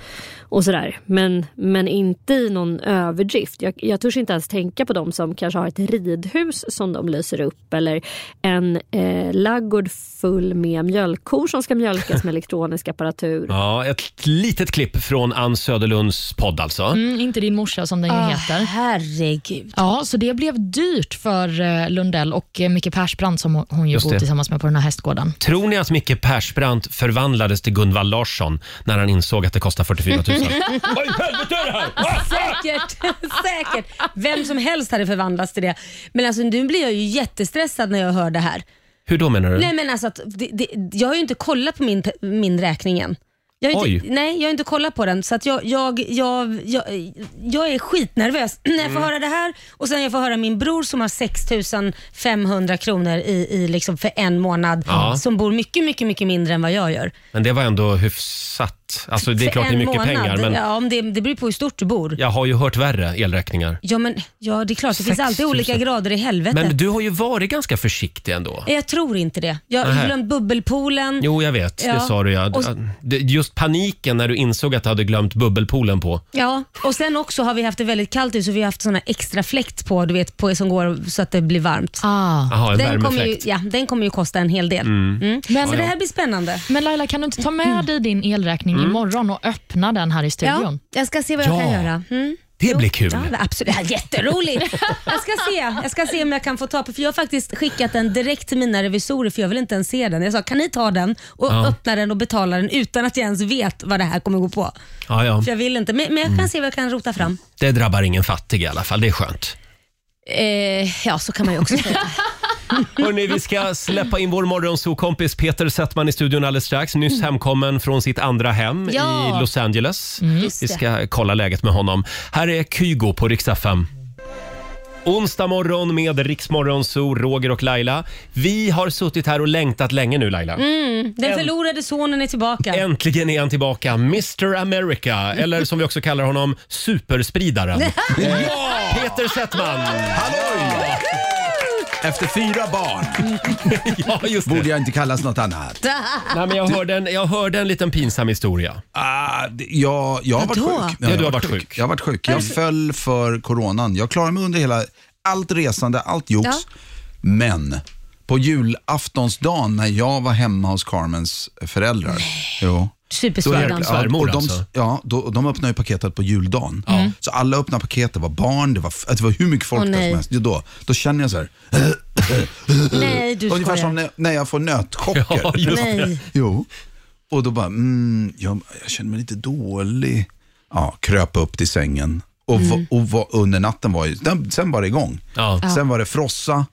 och sådär. Men, men inte i någon överdrift. Jag, jag törs inte ens tänka på de som kanske har ett ridhus som de lyser upp eller en eh, laggård full med mjölkkor som ska mjölkas med elektronisk apparatur.
Ja, ett litet klipp från Ann Söderlunds podd alltså.
Mm, inte din morsa som den
Ah.
ju heter.
Herregud.
Ja, så det blev dyrt för eh, Lundell och eh, Micke Persbrandt som hon- hon ju
Just
bor
det.
tillsammans med på den här hästgården.
Tror ni att Micke Persbrandt förvandlades till Gunvald Larsson när han insåg att det kostar 44 000? *laughs* Vad i helvete är det här? Ah!
Säkert, *laughs* säkert. Vem som helst hade förvandlats till det. Men alltså nu blir jag ju jättestressad när jag hör det här.
Hur då menar du?
Nej men alltså, att det, det, jag har ju inte kollat på min, min räkning än. Jag har inte,
Oj.
nej, jag har inte kollat på den. Så att jag, jag, jag, jag, jag är skitnervös *clears throat* när jag får
Mm.
höra det här och sen jag får höra min bror som har 6 500 kronor i, i liksom för en månad
Ja.
som bor mycket, mycket, mycket mindre än vad jag gör.
Men det var ändå hyfsat. Alltså det är
För
klart det är
en
mycket
månad.
pengar men
Ja, om det, det beror på hur stort du bor.
jag har ju hört värre elräkningar.
Ja, men, ja det är klart. Det finns
6 000.
alltid olika grader i helvetet.
Men du har ju varit ganska försiktig ändå.
Jag tror inte det. Jag
Nähä.
har glömt bubbelpoolen.
Jo, jag vet. Det
Ja.
sa du ja.
Och-
Det- Just paniken när du insåg att du hade glömt bubbelpoolen på.
Ja, och sen också har vi haft det väldigt kallt ute så vi har haft såna extra fläkt på, du vet, på som går så att det blir varmt.
Ah.
Jaha, en
Den kommer, ju,
värmefläkt.
ja, den kommer ju kosta en hel del. Mm.
Men-
så det här blir spännande.
Men Laila, kan du inte ta
Mm.
med dig din elräkning imorgon och öppna den här i
Mm. Ja,
studion?
jag ska se vad jag
Ja.
kan göra. Mm.
Det blir kul.
Ja, absolut. Ja, jätteroligt. *laughs* Jag ska, se. jag ska se om jag kan få ta på, för jag har faktiskt skickat den direkt till mina revisorer för jag vill inte ens se den. Jag sa, kan ni ta den och
Ja.
öppna den och betala den utan att jag ens vet vad det här kommer gå på?
Ja, ja.
För jag vill inte, men, men jag
Mm.
kan se vad jag kan rota fram.
Det drabbar ingen fattig i alla fall, det är skönt.
Eh, ja, så kan man ju också säga.
Hörrni, vi ska släppa in vår morgonsokompis Peter Settman i studion alldeles strax. Nyss hemkommen från sitt andra hem
Mm. Ja. Mm.
i Los Angeles.
Just
Vi
det.
ska kolla läget med honom. Här är Kygo på Rix FM. Onsdag morgon med Riksmorgonzoo, Roger och Laila. Vi har suttit här och längtat länge nu Laila.
*laughs* Mm. Den förlorade sonen är tillbaka.
Äntligen är han tillbaka, Mr America, eller som vi också kallar honom,
*laughs*
superspridaren. ja! Peter Settman!
Halloj! Efter fyra barn
Ja, just det.
borde jag inte kallas något annat.
Nej, men jag, hörde en, jag hörde en liten pinsam historia.
Ah, d- jag, jag har varit
Vadå?
sjuk. jag
Ja, du har
har
varit sjuk.
Jag har varit sjuk. Jag föll för coronan. Jag klarade mig under hela, allt resande, allt jox.
Ja.
Men på julaftonsdagen när jag var hemma hos Carmens föräldrar. Jo.
Då är
Superspridaren.
det- Svärmor
och de,
alltså.
Ja, då, och de öppnade ju paketet på juldagen. Mm. Så alla öppnade paket, det var barn, det var, f- det var hur mycket folk
Åh,
där
nej.
som helst. Då, då känner jag så här,
Nej, du
*laughs* ungefär som
skojar.
när, när jag får nötchocker.
*laughs* Ja, just det.
Nej.
Jo. Och då bara, mm, jag, jag känner mig lite dålig. Ja, kröp upp till sängen. Och,
Mm.
va, och va, under natten var ju, den, sen var det igång.
Ja.
Sen var det frossa.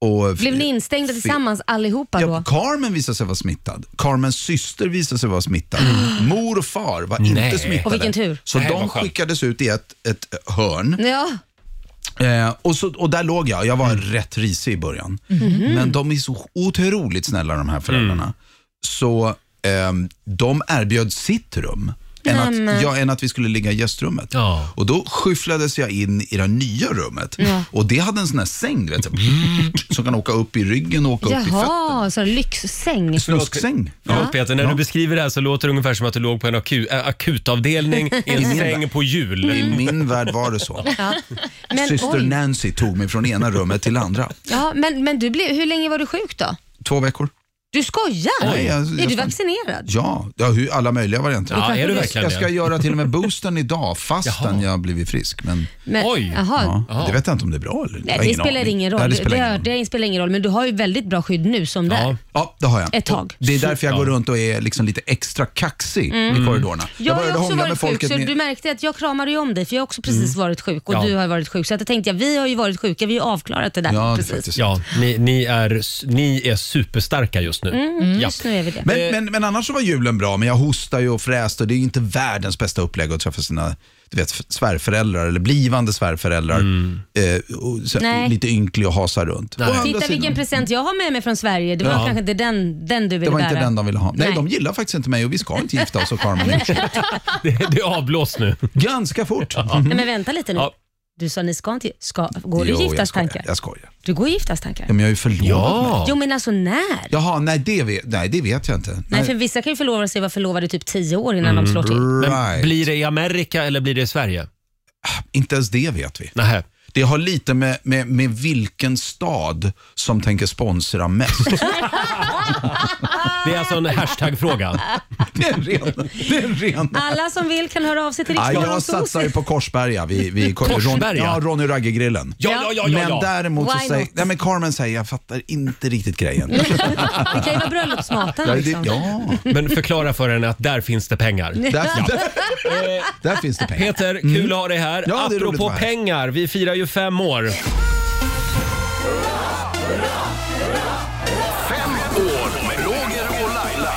Och,
Blev ni instängda tillsammans allihopa
Ja,
då?
Carmen visade sig vara smittad. Carmens syster visade sig vara smittad.
*gasps*
Mor och far var
Nej.
inte smittade.
Och vilken tur.
Så
Nej,
de
vad skönt.
skickades ut i ett, ett hörn.
Ja.
Eh, och, så, och där låg jag. Jag
Mm.
var rätt risig i början. Men de är så otroligt snälla de här föräldrarna. Så ehm, de erbjöd sitt rum. Än att, ja, än att vi skulle ligga i gästrummet.
Ja.
Och då skyfflades jag in i det nya rummet. Och det hade en sån här säng, du vet, så här, som kan åka upp i ryggen och åka upp i fötterna.
Jaha, så en lyxsäng.
Snusksäng.
Förlåt Peter, när du beskriver det här så låter det ungefär som att du låg på en aku- ä, akutavdelning i en säng på jul.
I min värld var det så.
Men,
Syster
oj.
Nancy tog mig från ena rummet till andra.
Ja, men, men du blev, hur länge var du sjuk då?
Två veckor.
Du skojar?
Nej, jag-
är
jag
du
ska-
vaccinerad?
Ja, ja hur, alla möjliga varianter.
Ja, är du
jag,
verkligen
jag ska
det?
göra till och med boosten idag fastän
Jaha.
jag har blivit frisk. Men
Men,
Oj.
Jaha.
ja, det vet jag inte om det är bra eller jag
Nej,
har
det
ingen
spelar
aning.
ingen roll.
Nej, det
det,
spelar ingen roll.
det spelar ingen roll, men du har ju väldigt bra skydd nu som det
Ja.
är.
Ja, det har jag.
Ett tag.
Det är därför jag går runt och är liksom lite extra kaxig i korridorerna.
Mm. Jag har ju
började
också
hångla med
varit sjuk,
folket
så
med- Mm.
du märkte att jag kramade ju om dig, för jag har också precis varit sjuk och
Ja.
du har varit sjuk. Så att jag tänkte att vi har ju varit sjuka, vi har ju avklarat det där.
Ja, det är
precis.
faktiskt.
Ja, ni, ni, är, s- ni är superstarka just nu. ja. *laughs*
Just nu är vi det.
Eh.
Men, men, men annars så var julen bra, men jag hostar ju och fräste och det är ju inte världens bästa upplägg att träffa sina du vet, svärföräldrar eller blivande svärföräldrar.
Mm.
Eh, och så,
Nej.
lite ynklig och hasa runt. Å andra
Titta vilken
sidan-
present jag har med mig från Sverige. Det var
Ja.
kanske inte den, den du ville
Det var
bära.
inte den de ville ha. Nej,
Nej.
de gillar faktiskt inte mig och vi ska inte gifta oss och
*laughs*
Carmen.
Det, det är avblåst nu.
Ganska fort. Mm.
Nej, men vänta lite nu.
Ja.
Du sa ni ska inte... Ska, går
Jo, jag
du i
skojar,
giftastankar?
Jag skojar.
Du går i giftastankar?
Ja, men jag är ju förlovad med-
Ja.
Jo men alltså när?
Jaha, nej det, vet, nej det vet jag inte.
Nej, för vissa kan ju förlova sig vara förlovade i typ 10 år innan
Mm.
de slår till.
Men
Right.
blir det i Amerika eller blir det i Sverige?
Inte ens det vet vi.
Nej.
Det har lite med, med, med vilken stad som tänker sponsra
*laughs*
mest.
Det är alltså en hashtag-fråga.
det är en ren... Det är en ren.
Alla som vill kan höra av sig till
Ja,
Riksmorgon
jag
Zoo.
satsar ju på Korsberga. Vi, vi,
Korsberga?
Ja, Ronny Ragge-grillen.
Ja, ja, ja, ja,
Men
ja.
däremot så
Why
säger...
not?
Nej, men Carmen säger jag fattar inte riktigt
*laughs*
grejen.
Det kan ju vara bröllopsmaten.
ja, det,
Liksom.
ja
Men förklara för henne att där finns det pengar.
där, där, där finns det pengar.
Eh, Peter, kul att ha dig här.
Mm. Ja, det är roligt att
Apropå
vara här.
pengar, vi firar ju fem år.
Fem år med Roger och Laila.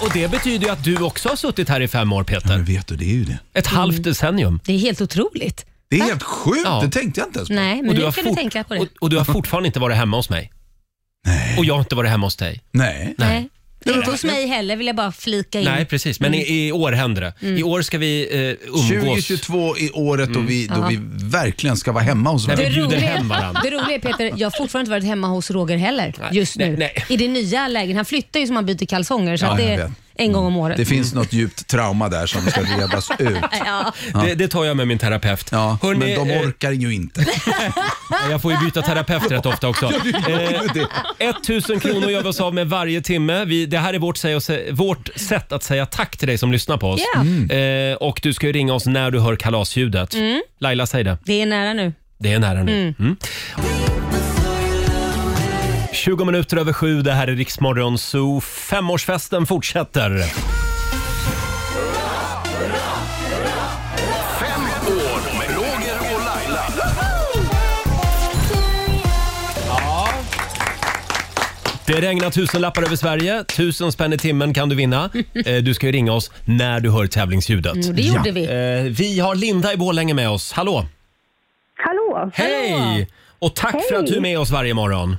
Och det betyder ju att du också har suttit här i fem år, Peter.
Men vet du, det är ju det.
Ett
Mm.
halvt decennium.
Det är helt otroligt.
Det är helt sjukt,
Ja.
det tänkte jag inte ens på.
Nej, men
Och
nu
har
kan du
fort-
tänka på det.
Och, och du har fortfarande inte varit hemma hos mig.
Nej.
Och jag har inte varit hemma hos dig.
Nej.
Nej. Inte hos mig heller vill jag bara flika in.
Nej, precis. Men
Mm.
i, i år händer det. I år ska vi eh, umgås.
2022 är året då, vi, då vi verkligen ska vara hemma hos
När vi
varandra.
bjuder hem varandra.
det roliga är Peter, jag har fortfarande inte varit hemma hos Roger heller just nu.
nej, nej.
I det nya läget. Han flyttar ju som han byter kalsonger. Så
Ja,
att
jag
det
vet. Mm.
en gång om året. Äh,
Det finns något djupt trauma där som ska redas ut.
Ja.
Det, det tar jag med min terapeut. eh, Ja,
men de orkar ju inte.
jag får ju byta terapeut rätt ofta också. Eh, 1000 kronor gör vi oss av med varje timme. Vi, det här är vårt, säg och sä, vårt sätt att säga tack till dig som lyssnar på oss.
Ja.
Eh, och du ska ju ringa oss när du hör kalasljudet.
Mm.
Laila, säg det.
Det är nära nu.
Det är nära nu.
Mm.
Mm. 20 minuter över sju, det här är Riksmorgon Zoo. Femårsfesten fortsätter.
år med Roger och Laila.
Det regnar tusenlappar över Sverige. Tusen spänn i timmen kan du
*laughs*
vinna. Eh, Du ska ju ringa oss när du hör tävlingsljudet.
Mm, det gjorde Ja. vi.
Eh, Vi har Linda i Borlänge med oss. Hallå!
Hallå!
Hej! Och tack för att du är med oss varje morgon.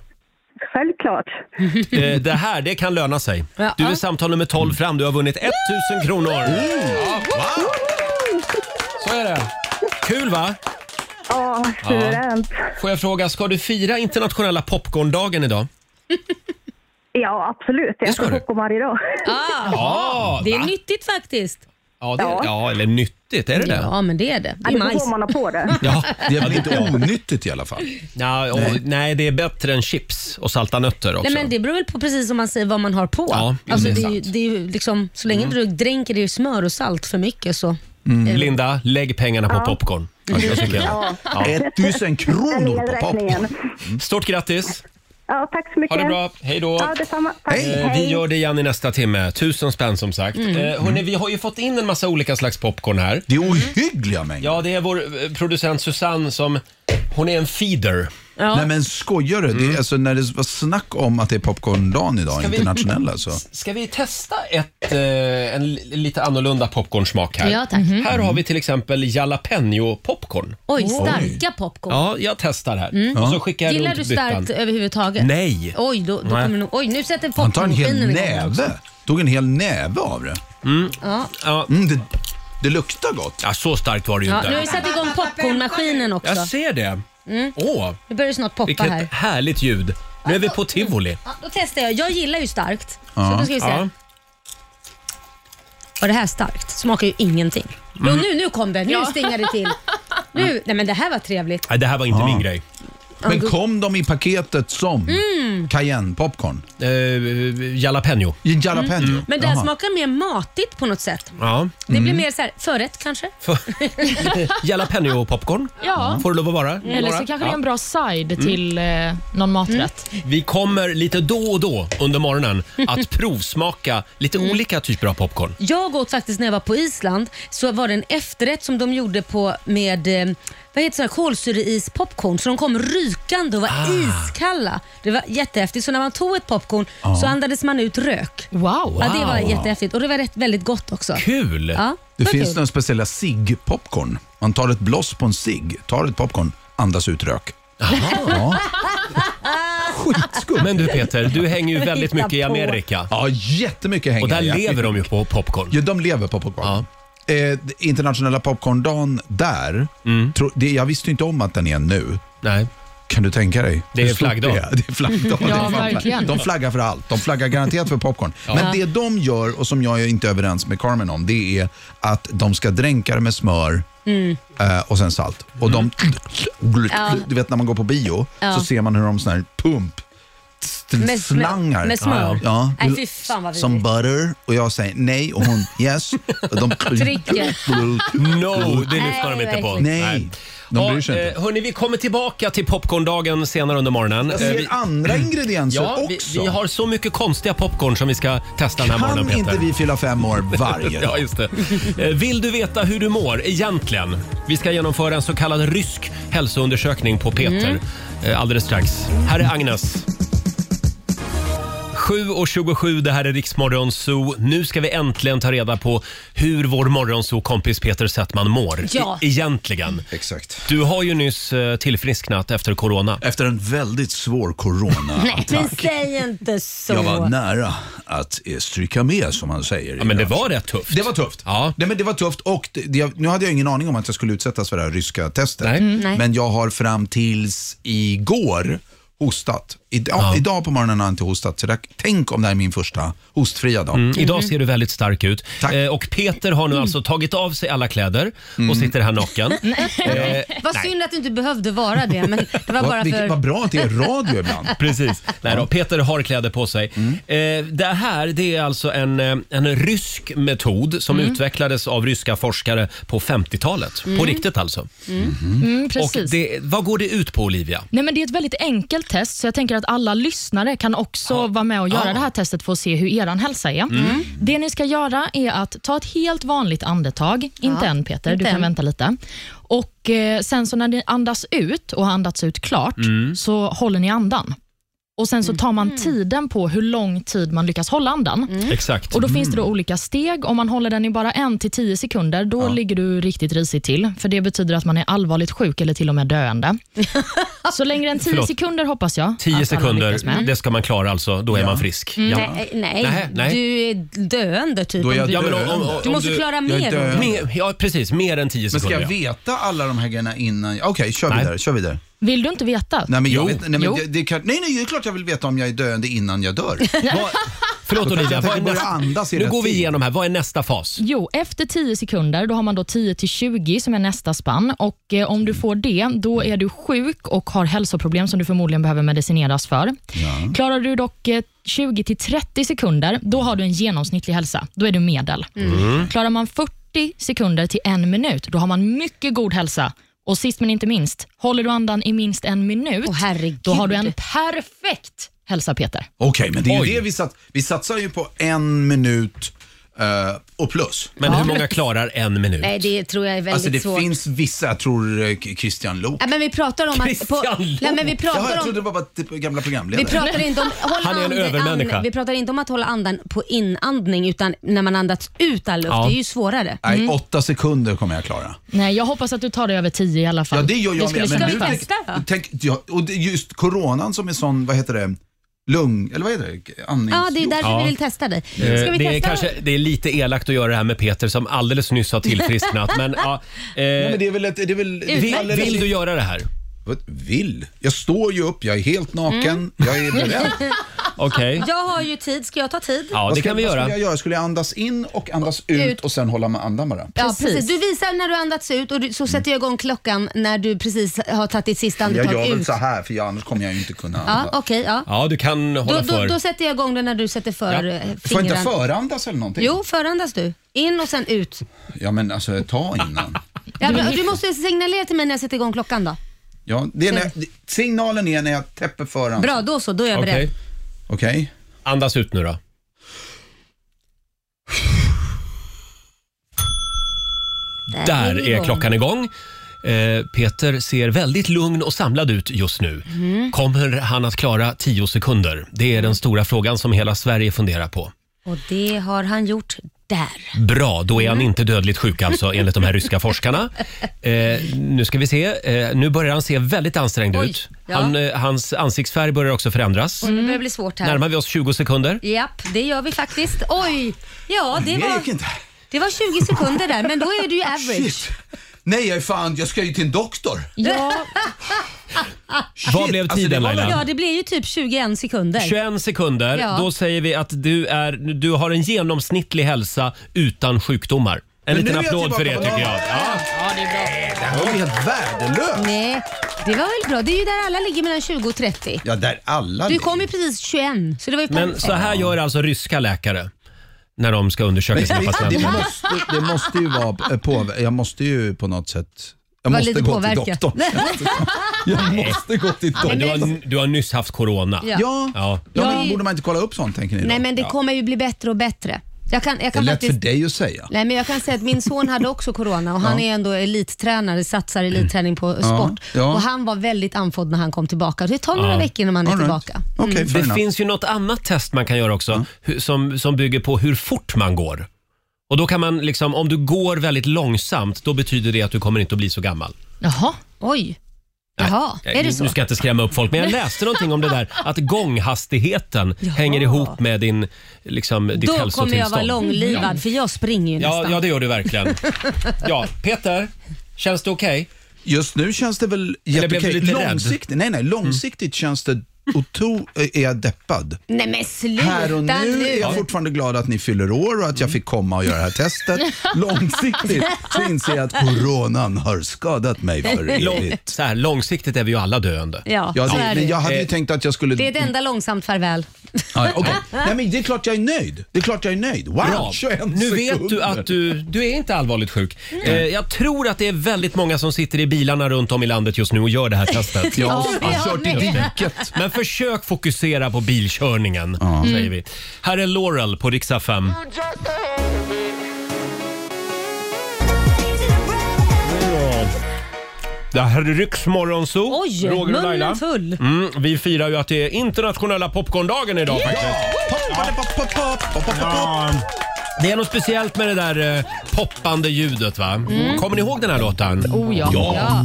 Självklart.
Eh, Det här, det kan löna sig.
Ja.
Du är samtal nummer 12 fram. Du har vunnit 1000 kronor. Så är det. Kul va?
Ja, suveränt.
Får jag fråga, ska du fira internationella popcorndagen idag?
Ja, absolut. Jag
ska
äter
du.
popcorn varje dag.
Ja,
det är
va?
nyttigt faktiskt.
Ja, det, ja, eller nyttigt, är det det?
Ja, men det är det. Det är
Det beror
majs.
på vad man har
*laughs*
på det.
Ja,
Det är väl
ja,
inte onyttigt i alla fall?
Ja, och, nej. det är bättre än chips och salta nötter också.
Nej, men det beror väl på precis som man säger vad man har på.
Ja, Mm. det
alltså,
är
det är
sant.
ju, det är ju liksom, så länge du dränker det i smör och salt för mycket så.
Mm. Linda, lägg pengarna på
Ja.
popcorn. Jag tycker
Ja.
jag.
kronor på popcorn.
Stort grattis!
Ja, tack så mycket.
Ha det bra. Hej då.
Ja, detsamma. Tack.
Eh, Vi gör det igen i nästa timme. Tusen spänn som sagt.
Mm.
Eh, hörni, vi har ju fått in en massa olika slags popcorn här.
Det är ohyggliga mängder.
Ja, det är vår eh, producent Susanne som... Hon är en feeder.
Nej men skojar du? Det är, alltså, när det var snack om att det är popcorndagen idag,
Ska vi-
internationella så.
Ska vi testa ett, eh, en li- lite annorlunda popcornsmak här?
Ja, tack. Mhm.
Här har vi till exempel jalapeno popcorn.
Oj, starka popcorn.
Ja, jag testar här.
Mm.
Och så skickar jag
Gillar
runt
du starkt
byttan.
överhuvudtaget?
Nej.
Oj, då, då
Nej.
kommer nog, oj nu sätter
Han tar en hel
popcornmaskinen igång.
näve. Tog en hel näve av det.
Ja.
Mm, det, det luktar gott.
Ja, så starkt var det ju
Ja,
inte.
nu har vi satt igång popcornmaskinen också.
Jag ser det.
Mm.
Åh,
Nu börjar det snart poppa
vilket
här.
härligt ljud. Nu är vi på tivoli.
Ja, då testar jag. Jag gillar ju starkt.
Ja.
Så då ska vi se.
Ja.
Och det här starkt smakar ju ingenting. Jo,
Mm.
nu, nu kom det. Nu
Ja.
stingar det till. Nu, nej men det här var trevligt.
Nej, det här var inte
Ja.
min grej.
Men kom de i paketet som
Mm.
cayenne-popcorn?
Eh, jalapeno.
Jalapeno?
Mm. Men det här
Jaha.
smakar mer matigt på något sätt.
Ja.
Det blir mer så här, förrätt kanske?
*laughs* Jalapeno popcorn.
Ja.
Får det lov att vara.
Eller
Några?
så kanske det
Ja.
är en bra side
Mm.
till eh, någon maträtt.
Mm.
Vi kommer lite då och då under morgonen att provsmaka lite olika typer av popcorn.
Jag åt faktiskt när jag var på Island så var det en efterrätt som de gjorde på med eh, vad heter det, kolsyreit-popcorn. Så de kom rykande och var iskalla. Det var jättehäftigt. Så när man tog ett popcorn
Ja.
så andades man ut rök.
Wow!
Ja, det var
Wow.
jättehäftigt och det var rätt, väldigt gott också.
Kul!
Ja,
Det
var
finns
kul.
några speciella cigg-popcorn. Man tar ett bloss på en cigg, tar ett popcorn, andas ut rök. Ja.
Men du Peter, du hänger ju väldigt mycket i Amerika.
Ja, jättemycket hänger
Och där
jag i.
lever de ju på popcorn.
Ja, de lever på popcorn. Eh, internationella popcorndagen där,
Mm.
tro, det, jag visste ju inte om att den är nu.
Nej.
Kan du tänka dig?
Det är
Hur stort
flaggdag.
Det är, *laughs* det är flaggdag.
Ja,
Det är fan-
verkligen.
De flaggar för allt. De flaggar garanterat för popcorn.
Ja.
Men det de gör och som jag är inte överens med Carmen om, det är att de ska dränka det med smör
Mm.
eh, och sen salt. Och de,
Ja.
Du vet när man går på bio
Ja.
så ser man hur de sån här pump
Med smör-
slangar.
med smör.
Ja.
Nej, fy fan vad
Som
vidrigt.
butter och jag säger nej och hon yes. Och de
*laughs* Trycker.
No, det lyssnar de
Nej,
inte på.
verkligen.
Nej, de bryr sig
Ja,
inte.
eh, hörni, vi kommer tillbaka till popcorndagen senare under morgonen.
Jag ser
Eh, vi-
andra ingredienser
*clears throat* ja,
också.
Vi, vi har så mycket konstiga popcorn som vi ska testa den här
Kan
morgonen, Peter.
inte vi fylla fem år varje dag?
*laughs* ja, just det. Eh, Vill du veta hur du mår egentligen? Vi ska genomföra en så kallad rysk hälsoundersökning på Peter eh, alldeles strax. Här är Agnes. 7.27, det här är Riksmorgon Zoo. Nu ska vi äntligen ta reda på hur vår morgonzoo-kompis Peter Settman mår.
Ja.
E- egentligen.
Exakt.
Du har ju nyss eh, tillfrisknat efter corona.
Efter en väldigt svår corona.
Nej, men säg inte så.
Jag var nära att eh, stryka med som man säger.
Ja, men det var rätt tufft.
Det var tufft.
Ja.
Nej, men det var tufft och det, det, nu hade jag ingen aning om att jag skulle utsättas för det här ryska testet.
Nej. Mm, nej.
Men jag har fram tills igår hostat Ida- Idag på morgonen har jag inte hostat, så där, tänk om det här är min första hostfria dag.
Mm. Idag ser du väldigt stark ut. Eh, och Peter har nu alltså tagit av sig alla kläder och sitter här naken. Eh,
Vad
nej.
synd att du inte behövde vara det, men det var
Vad-
bara
vilket-
för...
vad bra att det är radio *laughs*
ibland.
Precis. Nej då, Peter har kläder på sig. Eh, det här det är alltså en, eh, en rysk metod som
Mm.
utvecklades av ryska forskare på 50-talet. På
Mm.
riktigt alltså.
Mm. Mm,
och
precis.
det, vad går det ut på Olivia?
Nej, men det är ett väldigt enkelt test, så jag tänker att alla lyssnare kan också vara med och göra det här testet för att se hur er hälsa är.
Mm.
Det ni ska göra är att ta ett helt vanligt andetag, inte än Peter,
inte
du
än.
kan vänta lite. Och eh, Sen så när ni andas ut och har andats ut klart,
Mm.
så håller ni andan. Och Sen så tar man tiden på hur lång tid man lyckas hålla andan.
Mm.
Exakt.
Och Då finns det
Mm.
då olika steg. Om man håller den i bara en till tio sekunder, då ligger du riktigt risigt till. För Det betyder att man är allvarligt sjuk eller till och
*laughs*
med döende. Så längre än 10
Förlåt.
sekunder hoppas jag. att alla
10
lyckas
sekunder,
med.
det ska man klara alltså. Då är man frisk.
Mm.
Ja.
Nej, nej.
Nähä, nej.
du är döende typ. om du-
ja, men om, om, om
du måste klara mer. Roger.
mer. Ja, precis. Mer än 10
Men
sekunder.
ska jag
ja.
veta alla de här grejerna innan? Okej, kör vidare. Kör vidare.
Vill du inte veta?
Nej, men jag vet, nej, men
Jo.
det, det kan, nej, nej, det är klart jag vill veta om jag är döende innan jag dör.
Förlåt
Då kanske jag
Olivia, vad är
tänker börja
nästa-
andas i
nu
rätt
går vi
tid.
igenom här. Vad är nästa fas?
Jo, efter 10 sekunder då har man då 10 till 20 som är nästa spann. Och eh, Om du får det, då är du sjuk och har hälsoproblem som du förmodligen behöver medicineras för. Klarar du dock eh, 20 till 30 sekunder, då har du en genomsnittlig hälsa. Då är du medel.
Mm.
Klarar man 40 sekunder till en minut, då har man mycket god hälsa. Och sist men inte minst, håller du andan i minst en minut, då har du en perfekt hälsa Peter.
Okej, men det är
Oj.
ju det vi satsar. Vi satsar ju på en minut eh, och plus.
Men hur många klarar en minut?
Nej, det tror jag är väldigt
Alltså det
svårt.
finns vissa, jag tror eh, Christian Lok.
Ja, men vi pratar om att... På, nej, men vi
Jaha,
pratar
jag
om...
trodde det var bara typ gamla
Vi
programledare.
pratar, inte om, håll
Han är en
and-
övermänniska.
and- vi pratar inte om att hålla andan på inandning utan när man andats ut all luft.
Ja.
Det är ju svårare.
Nej, åtta sekunder kommer jag klara.
Nej, jag hoppas att du tar dig över 10 i alla fall.
Ja, det gör jag
skulle
med.
kännas
nu
bra.
tänk- tänk, ja, och det är just coronan som är sån, vad heter det, lung, eller vad heter det, andnings...
Ja, det är därför
Ja.
vi vill testa dig. Ska vi
Eh,
testa?
Det är, kanske, det är lite elakt att göra det här med Peter som alldeles nyss har tillfrisknat. Men, ja, eh,
men det är väl ett, det är väl,
vill, vill du göra det här?
Vad, vill? Jag står ju upp, jag är helt naken,
Mm.
jag är
*laughs*
beredd.
Okej.
Jag har ju tid. Ska jag ta tid?
Vad skulle- Vad skulle jag göra? Skulle jag andas in och andas ut, och sen hålla med andan bara?
Ja, precis. Du visar när du andats ut och du, så sätter jag igång klockan när du precis har tagit ditt sista
Jag
andetag
gör väl
ut.
så här, för jag, annars kommer jag ju inte kunna
Ja,
andas.
okej. ja.
Ja, du kan
Då,
hålla
då,
för.
då sätter jag igång den när du sätter för
Ja.
eh, fingrarna.
Får jag inte förandas eller någonting?
Jo, förandas du. In och sen ut.
Ja, men alltså ta innan.
Ja, men, du måste signalera till mig när jag sätter igång klockan då.
Ja, det är när, signalen är när jag täpper föran.
Bra, då så. Då är jag beredd.
Okej.
Andas ut nu då. Där
är
är
igång.
klockan igång. Eh, Peter ser väldigt lugn och samlad ut just nu.
Mm.
Kommer han att klara 10 sekunder? Det är den stora frågan som hela Sverige funderar på.
Och det har han gjort där.
Bra, då är
Mm.
han inte dödligt sjuk alltså enligt de här ryska forskarna. Eh, nu ska vi se. Eh, nu börjar han se väldigt ansträngd
Oj,
ut.
ja.
Han, eh, hans ansiktsfärg börjar också förändras.
Och
Mm.
nu börjar det bli svårt här.
Närmar vi oss 20 sekunder?
Japp, det gör vi faktiskt. Oj! Ja, det var,
inte.
det var 20 sekunder där, men då är du ju
Ah,
average.
Nej, jag är fan, jag ska ju till en doktor.
Ja.
Vad blev
alltså, det
tiden
var väl-
Laila?
ja, det blir ju typ 21 sekunder.
21 sekunder.
Ja.
Då säger vi att du, är, du har en genomsnittlig hälsa utan sjukdomar. En
Men
liten
nu är jag
applåd för det
tillbaka
tycker
på-
jag. Ja.
det är
Det här var ju helt värdelöst.
Nej, det var väl bra. Det är ju där alla ligger mellan 20 och 30.
Ja, där alla
Du kom ju precis 21, så det var ju
Men
perfekt.
så här gör alltså ryska läkare när de ska undersöka
Men
sina
det,
patienter.
det, måste, det måste ju vara på, på, jag måste ju på något sätt, jag
Var
måste
lite
gå
påverkad.
till
*laughs*
doktorn. Jag måste gå till
Men
doktorn.
du, har, du har nyss haft corona.
Ja.
Ja.
ja.
Ja, men borde man inte kolla upp sånt tänker ni då?
Nej, men det
Ja.
kommer ju bli bättre och bättre. Jag kan, jag
Det är
kan
lätt
faktiskt...
för dig att säga.
Nej, men jag kan säga att min son hade också corona och han
Ja.
är ändå elittränare, satsar elitträning på
Ja,
sport.
ja.
Och han var väldigt andfådd när han kom tillbaka. Det tar några
Ja.
veckor innan han är
All right.
tillbaka. Mm.
Okej, fair
Det
enough.
finns ju något annat test man kan göra också hu- som, som bygger på hur fort man går. Och då kan man liksom, om du går väldigt långsamt, då betyder det att du kommer inte att bli så gammal.
Jaha.
Oj. Jaha, är det så?
Nu ska jag inte skrämma upp folk, men jag
*laughs*
läste någonting om det där att gånghastigheten hänger ihop med din, liksom, ditt
Då
hälsotillstånd.
kommer jag vara långlivad för jag springer ju
Ja,
nästan.
ja, det gör du verkligen. Ja, Peter, känns det okej?
Just nu känns det väl
Eller blev du
jätteokej.
lite rädd? Mm.
Långsiktigt, nej, nej, långsiktigt känns det otro- är jag deppad.
Nej men sluta
Här och nu är jag
nu.
fortfarande glad att ni fyller år och att
Mm.
jag fick komma och göra det här testet.
*laughs*
Långsiktigt så inser jag att coronan har skadat mig för
Lång,
evigt.
så här, långsiktigt är vi ju alla döende.
Ja,
Ja,
så
det,
är det
men
ju. Eh,
jag hade ju tänkt att jag skulle...
Det är ett enda långsamt farväl.
Ja,
*laughs*
okej. Nej, men det är klart jag är nöjd. Det är klart jag är nöjd. Wow,
Bra.
21
Nu vet du
sekunder. Mm.
att du, du är inte allvarligt sjuk. Eh, jag tror att det är väldigt många som sitter i bilarna runt om i landet just nu och gör det här testet.
Ja,
*laughs* Ja,
jag har
jag
kört i
med.
diket. Mm.
Men försök fokusera på bilkörningen, säger vi. Här är Laurel på riksdag 5. Det här är Riksmorgonzoo.
Oj,
Roger och Laila.
munnen full.
Mm, vi firar ju att det är internationella popcorndagen idag faktiskt. Ja. Det är något speciellt med det där eh, poppande ljudet va? Kommer ni ihåg den här låten?
Mm. Oh ja.
Ja,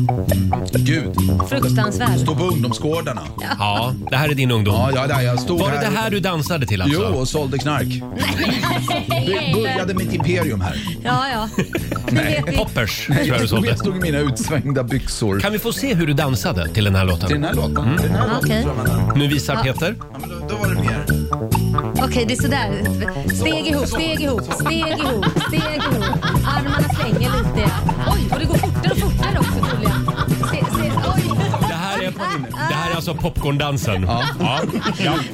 gud.
Fruktansvärd.
Stå på ungdomsgårdarna.
Ja, det här är din ungdom.
Ja, ja, där jag stod
Var det
här.
det här du dansade till
Jo,
alltså?
och sålde knark. Det började mitt imperium här.
*laughs* Ja, ja. Det vet vi.
Poppers tror jag du sålde.
Jag stod i mina utsvängda byxor.
Kan Mm. vi få se hur du dansade till den här
Till den
låten?
här låten? Den här låten
Okej.
tror jag man-
Nu visar Peter.
Ja, men då, då var det mer.
Okej, det är sådär. Steg ihop, steg ihop, steg ihop, steg ihop. Armarna svänger lite. Oj, och det går fortare och fortare också Julia. Se, se, oj.
Det här är, det här är alltså popcorndansen. Ja. Ja.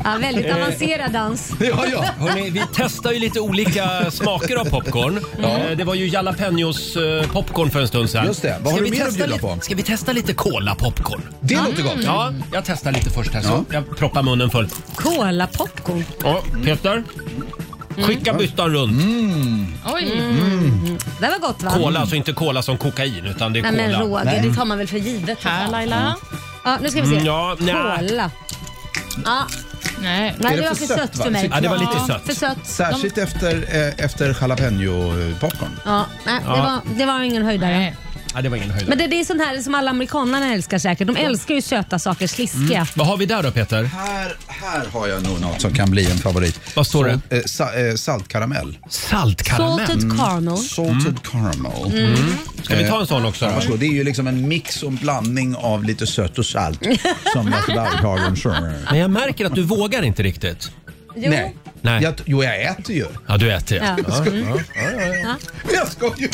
Ja, väldigt avancerad dans.
Ja, ja.
Hörrni, vi testar ju lite olika smaker av popcorn. Eh, Det var ju jalapenos eh, popcorn för en stund sedan.
Just det. Vad har
Ska
du
vi
mer att
testa
bjuda
lite-
på?
Ska vi testa lite cola popcorn?
Det låter gott.
Ja, jag testar lite först här så. Jag proppar munnen full.
Cola popcorn.
Ja, Peter.
Mm.
Skicka byttan runt.
Mm.
Oj.
Det var gott va?
Cola, alltså inte cola som kokain utan det är
Nej men
cola.
Roger, det tar man väl för givet.
Här Laila.
Ja, nu ska vi se.
Mm, ja, nej.
Cola. Ja,
Nej.
nej,
Är
det
det för
var för
sött,
sött
va?
för mig.
Ja, det var lite sött.
För sött.
Särskilt efter, eh, efter jalapeno-popcorn.
Ja, nej, det,
Ja.
var, det var ingen höjdare.
Nej.
Ja, det var ingen höjdare.
Men det, det är sånt här som alla amerikanerna älskar säkert. De älskar ju söta saker, sliskiga.
Vad har vi där då Peter?
Här, här har jag nog något som kan bli en favorit.
Vad står det?
Eh, sa, eh, saltkaramell.
Saltkaramell.
Mm.
Salted caramel.
Salted caramel.
Ska vi ta en sån också?
Ja,
Då?
varsågod. Det är ju liksom en mix och en blandning av lite sött och salt. som Lasse Berghagen sjunger.
Men jag märker att du vågar inte riktigt.
Jo.
Nej.
Nej.
Jag, jo, jag äter ju.
Ja, du äter ja.
Ja.
ja.
Men jag ska ju.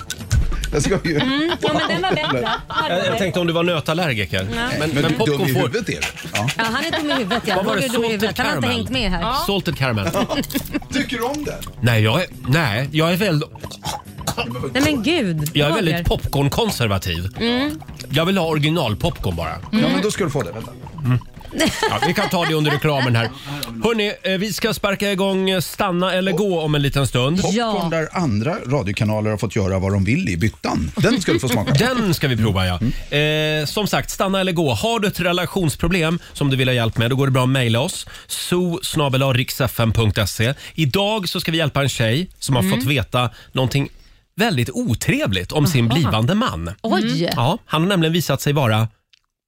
Jag ska ju.
Ja, men den var bättre.
Jag, jag tänkte om du var nötallergiker. Men,
Men,
men,
du är dum
popcorn
i
får...
huvudet är du. Ja.
Ja, han är dum i huvudet ja.
Vad var det? typ
Roger är dum i huvudet.
Salted
Han har
caramel?
inte hängt med här.
Salted caramel.
Tycker du om den?
Nej, jag är, nej, jag är, väl,
Nej men gud.
jag är
Roger.
väldigt popcornkonservativ. Jag vill ha originalpopcorn bara.
Ja, men då ska du få det. Vänta.
Ja, vi kan ta det under reklamen här. Hörni, vi ska sparka igång eh, Stanna eller gå om en liten stund.
Popcorn
Ja.
där andra radiokanaler har fått göra vad de vill i byttan. Den ska du få smaka.
Den ska vi prova ja. Eh, som sagt, stanna eller gå. Har du ett relationsproblem som du vill ha hjälp med, då går det bra att mejla oss. zoo.riksfm.se. Idag så ska vi hjälpa en tjej som
Mm.
har fått veta någonting väldigt otrevligt om sin blivande man.
Oj.
Ja, han har nämligen visat sig vara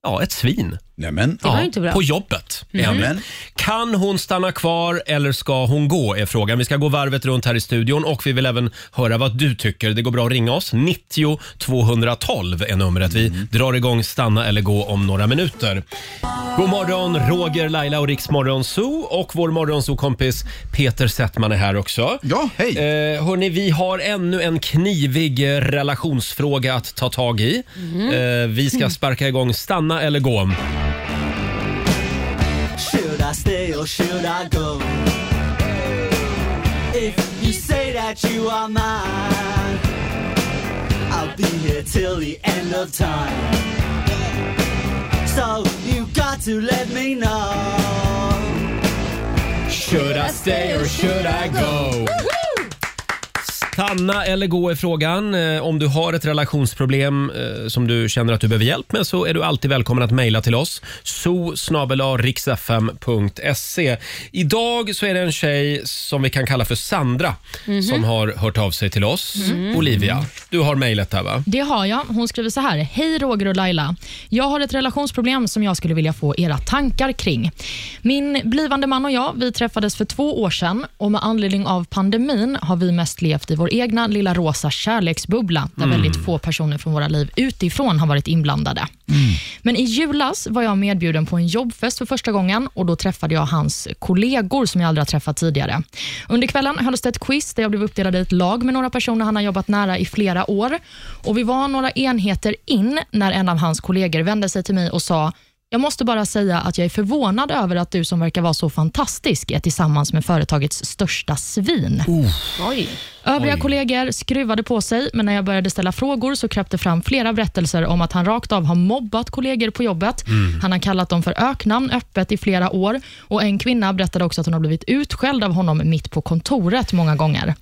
ja, ett svin.
Nej, men,
Ja,
ju inte bra. Mm.
På jobbet. är han.
Men.
Kan hon stanna kvar eller ska hon gå? är frågan. Vi ska gå varvet runt här i studion och vi vill även höra vad du tycker. Det går bra att ringa oss. 90 212 är numret. Vi drar igång Stanna eller gå om några minuter. God morgon, Roger, Laila och Riks Morgonzoo. Och vår Morgonzoo-kompis Peter Settman är här också.
Ja, hej.
Eh, hörni, vi har ännu en knivig eh, relationsfråga att ta tag i.
Mm.
Eh, vi ska sparka igång Stanna eller gå.
Should I stay or should I go? If you say that you are mine, I'll be here till the end of time. So you got to let me know.
Should I stay or should I go? Stanna eller gå är frågan. Eh, Om du har ett relationsproblem eh, som du känner att du behöver hjälp med så är du alltid välkommen att mejla till oss. so Idag så är det en tjej som vi kan kalla för Sandra som har hört av sig till oss. Olivia, du har mejlet där va?
Det har jag. Hon skriver så här. Hej Roger och Laila. Jag har ett relationsproblem som jag skulle vilja få era tankar kring. Min blivande man och jag vi träffades för två år sedan och med anledning av pandemin har vi mest levt i vår egna lilla rosa kärleksbubbla där
Mm.
väldigt få personer från våra liv utifrån har varit inblandade. Men i julas var jag medbjuden på en jobbfest för första gången och då träffade jag hans kollegor som jag aldrig har träffat tidigare. Under kvällen hölls det ett quiz där jag blev uppdelad i ett lag med några personer han har jobbat nära i flera år. Och Vi var några enheter in när en av hans kollegor vände sig till mig och sa jag måste bara säga att jag är förvånad över att du som verkar vara så fantastisk är tillsammans med företagets största svin. Övriga
Oj.
kollegor skruvade på sig, men när jag började ställa frågor så kröp det fram flera berättelser om att han rakt av har mobbat kollegor på jobbet.
Mm.
Han har kallat dem för öknamn öppet i flera år och en kvinna berättade också att hon har blivit utskälld av honom mitt på kontoret många gånger.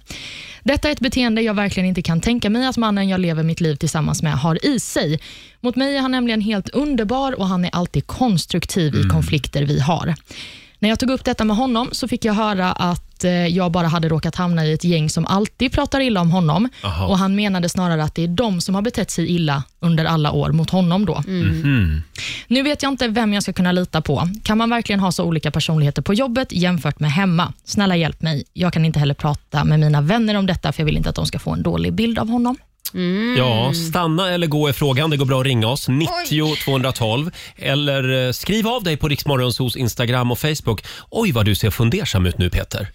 Detta är ett beteende jag verkligen inte kan tänka mig att mannen jag lever mitt liv tillsammans med har i sig. Mot mig är han nämligen helt underbar och han är alltid konstruktiv
Mm.
i konflikter vi har. När jag tog upp detta med honom så fick jag höra att eh, jag bara hade råkat hamna i ett gäng som alltid pratar illa om honom
Aha.
och han menade snarare att det är de som har betett sig illa under alla år mot honom då.
Mhm.
Nu vet jag inte vem jag ska kunna lita på. Kan man verkligen ha så olika personligheter på jobbet jämfört med hemma? Snälla hjälp mig. Jag kan inte heller prata med mina vänner om detta för jag vill inte att de ska få en dålig bild av honom.
Ja, stanna eller gå är frågan. Det går bra att ringa oss. 90 212. Eller eh, skriv av dig på Riksmorgonsos Instagram och Facebook. Oj, vad du ser fundersam ut nu, Peter.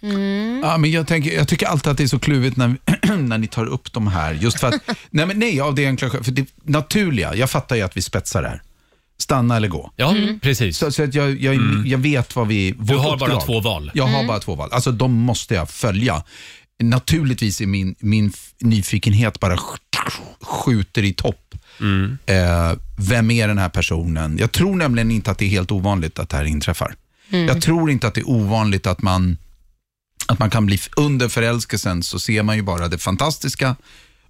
Ja, men jag, tänker, jag tycker alltid att det är så kluvigt när, *clears throat* när ni tar upp de här. Just för att, nej, men nej, av det enkla skälet- för det naturliga, jag fattar ju att vi spetsar det här. Stanna eller gå.
Ja, precis.
Så, så att jag, jag, jag vet vad vi... vårt
har bara två val.
Jag har
Mm.
bara två val. Alltså de måste jag följa. Naturligtvis är min, min f- nyfikenhet bara sk- skjuter i topp.
Mm.
Eh, vem är den här personen? Jag tror nämligen inte att det är helt ovanligt att det här inträffar.
Mm.
Jag tror inte att det är ovanligt att man, att man kan bli, under förälskelsen så ser man ju bara det fantastiska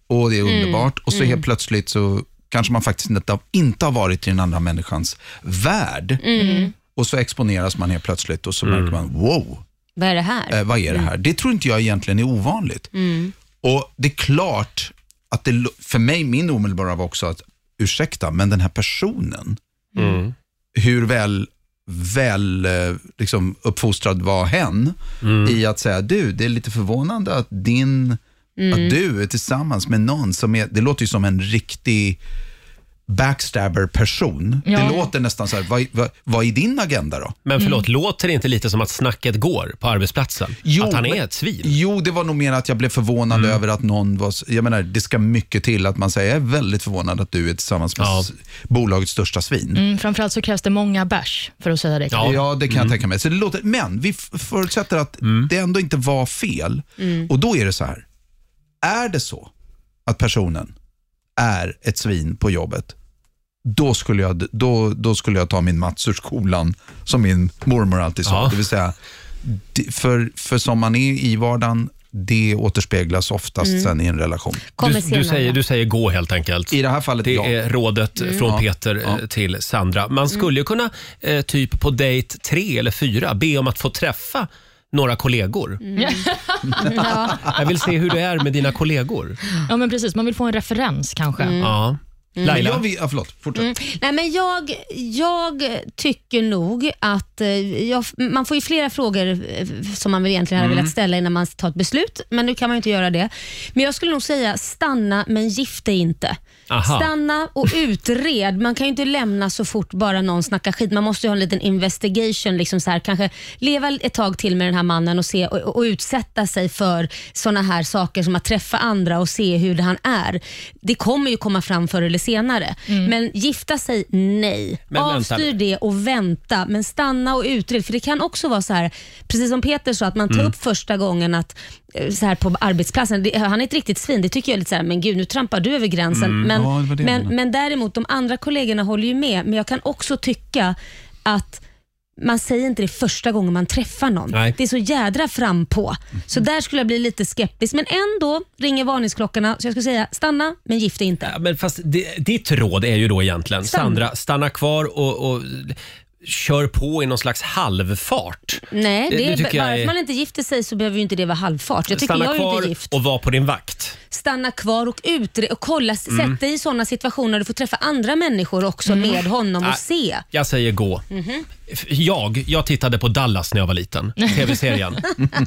och det är
Mm.
underbart och så
Mm.
helt plötsligt så kanske man faktiskt inte, inte har varit i den andra människans värld
Mm.
och så exponeras man helt plötsligt och så märker man, wow,
Vad är det här?
eh, vad är det här? Det tror inte jag egentligen är ovanligt.
Mm.
Och det är klart att det, lo- för mig, min omedelbara var också att, ursäkta, men den här personen,
Mm.
hur väl, väl eh, liksom, uppfostrad var hen i att säga, du, det är lite förvånande att din,
Mm.
att du är tillsammans med någon som är, det låter ju som en riktig backstabber-person.
Ja.
Det låter nästan så här, vad, vad, vad är din agenda då?
Men förlåt,
Mm.
låter det inte lite som att snacket går på arbetsplatsen? att han är
men-
ett svin?
Jo, det var nog mer att jag blev förvånad över att någon var... s- Jag menar, det ska mycket till att man säger, jag är väldigt förvånad att du är tillsammans med s- bolagets största svin.
Mm, framförallt så krävs det många bärs för att säga det.
Ja, Mm. det kan jag tänka mig. Så det låter, men vi f- förutsätter att det ändå inte var fel.
Mm.
Och då är det så här, är det så att personen är ett svin på jobbet, då skulle jag, då, då skulle jag ta min Mats ur skolan, som min mormor alltid sa.
Ja.
Det vill säga, det- för, för som man är i vardagen, det återspeglas oftast
Mm.
sen i en relation.
Du, du, säger, du säger gå helt enkelt.
I det här fallet,
Det
ja.
är rådet
Mm.
från
Ja,
Peter eh, till Sandra. Man skulle ju kunna, eh, typ på dejt tre eller fyra, be om att få träffa några kollegor.
Ja.
Jag vill se hur det är med dina kollegor.
ja, men precis. Man vill få en referens kanske.
Ja.
Mm.
Laila?
Men jag
vill, ja, förlåt, fortsätt.
Mm. Nej, men jag, jag tycker nog att eh, jag, man får ju flera frågor eh, som man väl egentligen hade
Mm.
velat ställa innan man tar ett beslut, men nu kan man ju inte göra det. Men jag skulle nog säga stanna, men gift dig inte.
Aha.
Stanna och utred. Man kan ju inte lämna så fort bara någon snackar skit. Man måste ju ha en liten investigation. Liksom så här. Kanske leva ett tag till med den här mannen och, se, och, och utsätta sig för såna här saker som att träffa andra och se hur han är. Det kommer ju komma fram förr eller senare. Men gifta sig, nej.
Mm. Men vänta
Avstyr
nu.
det och vänta, men stanna och utred. För det kan också vara så här, precis som Peter sa, att man tar
Mm.
upp första gången att eh, så här på arbetsplatsen, det, han är ett riktigt svin. Det tycker jag är lite så här, men gud nu trampar du över gränsen.
Mm.
Men,
Ja, det var det jag
men,
menade.
men däremot, de andra kollegorna håller ju med, men jag kan också tycka att man säger inte det första gången man träffar någon.
Nej. Mm.
Det är så jädra fram på. Så där skulle jag bli lite skeptisk. Men ändå ringer varningsklockorna, så jag skulle säga stanna, men gift dig inte.
Men fast det, ditt råd är ju då egentligen,
Stanna.
Sandra, stanna kvar och, och kör på i någon slags halvfart.
Nej,
Det-
det
det
är,
tycker jag
bara
är-
att man inte gifter sig så behöver ju inte det vara halvfart. Jag tycker
Stanna
jag är
kvar
inte gift.
och var på din vakt.
Stanna kvar och utre och kolla,
Mm.
sätt dig i sådana situationer du får träffa andra människor också med honom
Nej.
och se.
Jag säger gå.
Mhm.
F- Jag, jag tittade på Dallas när jag var
*laughs*
liten. Tv-serien.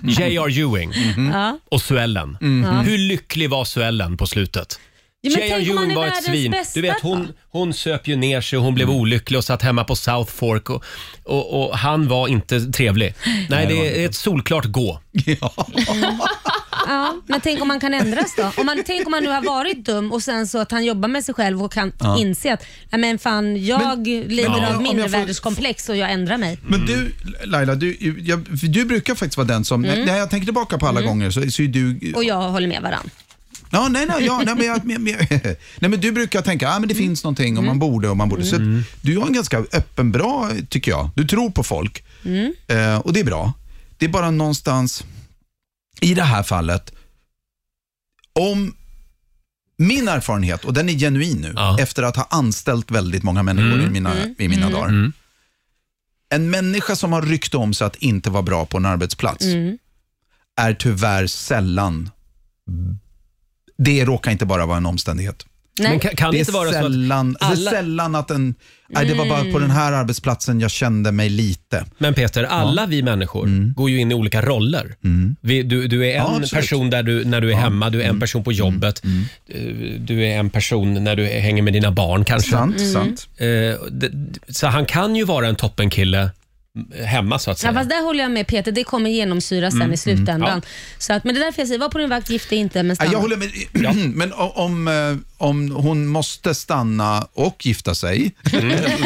J.R. Ewing
Ja.
och Suellen.
Mhm.
Hur lycklig var Suellen på slutet?
Ja, men
J.R.
tänk om han
Ewing
är
var ett
världens
svin.
bästa.
Du vet, hon, hon söp ju ner sig och hon blev olycklig och satt hemma på South Fork. Och, och, och han var inte trevlig. Nej,
det var
det är ett solklart gå.
Ja, men tänk om man kan ändras då? Om man, tänk om man nu har varit dum och sen så att han jobbar med sig själv och kan
Ja.
inse att nej men fan, jag lider
men om jag
av
får-
mindervärdeskomplex och jag ändrar mig.
Men du, Laila, du, jag, du brukar faktiskt vara den som,
Mm.
när jag tänker tillbaka på alla
Mm.
gånger så, så är du...
Och jag håller med varann.
Ja, nej, nej, ja, nej, men, jag, men, *laughs* men, nej, men du brukar tänka att ah, men det
Mm.
finns någonting och man borde och man borde. Så att du har en ganska öppen, bra, tycker jag. Du tror på folk
Mm.
eh, och det är bra. Det är bara någonstans, i det här fallet, om min erfarenhet, och den är genuin nu, efter att ha anställt väldigt många människor
Mm.
i mina, i mina dagar. En människa som har rykte om sig att inte vara bra på en arbetsplats
Mm.
är tyvärr sällan... Det råkar inte bara vara en omständighet.
Nej. Men kan- kan det
är
inte vara så att
sällan, Det
alla-
är sällan att en... Nej, det var bara på
Mm.
den här arbetsplatsen jag kände mig lite.
Men Peter, alla vi människor
Mm.
går ju in i olika roller. Vi, du, du är
Ja,
en
absolut.
person där du, när du är hemma, du är
Mm.
en person på jobbet, eh, du är en person när du hänger med dina barn kanske.
Sant, Mm. sant.
Eh, d- d- Så han kan ju vara en toppenkille eh, hemma så att
Ja,
säga.
fast där håller jag med Peter, det kommer genomsyra sen
Mm,
i slutändan.
mm,
Så att, men det är därför jag säger, var på din vakt, gift dig inte men
Nej,
stanna.
Jag håller med. *clears throat* Men o- om, eh, om hon måste stanna och gifta sig, *laughs*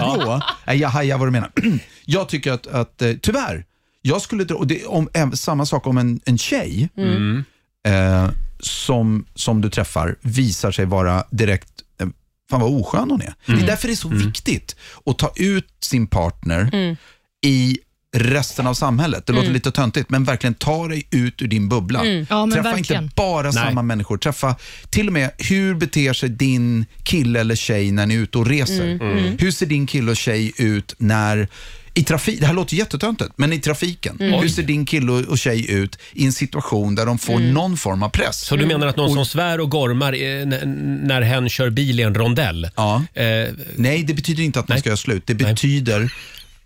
då... Nej, jag hajar vad du menar. *clears throat* Jag tycker att, att eh, tyvärr, jag skulle dra... Och det, om, äm- samma sak om en, en tjej
Mm.
eh, som, som du träffar visar sig vara direkt eh, Fan vad oskön hon är. Det är därför det är så viktigt att ta ut sin partner
Mm.
i resten av samhället. Det låter
Mm.
lite töntigt, men verkligen ta dig ut ur din bubbla.
Mm. Ja, men
Träffa
verkligen.
inte bara
Nej.
samma människor. Träffa till och med hur beter sig din kille eller tjej när ni är ute och reser.
Mm. Mm.
Hur ser din kille och tjej ut när i trafik, det här låter jättetöntigt, men i trafiken.
Mm.
Hur
Oj.
ser din kille och tjej ut i en situation där de får
Mm.
någon form av press?
Så du menar att någon som svär Mm. och gormar eh, n- n- när hen kör bil i en rondell?
Ja.
Eh,
Nej, det betyder inte att man ska göra slut. Det betyder,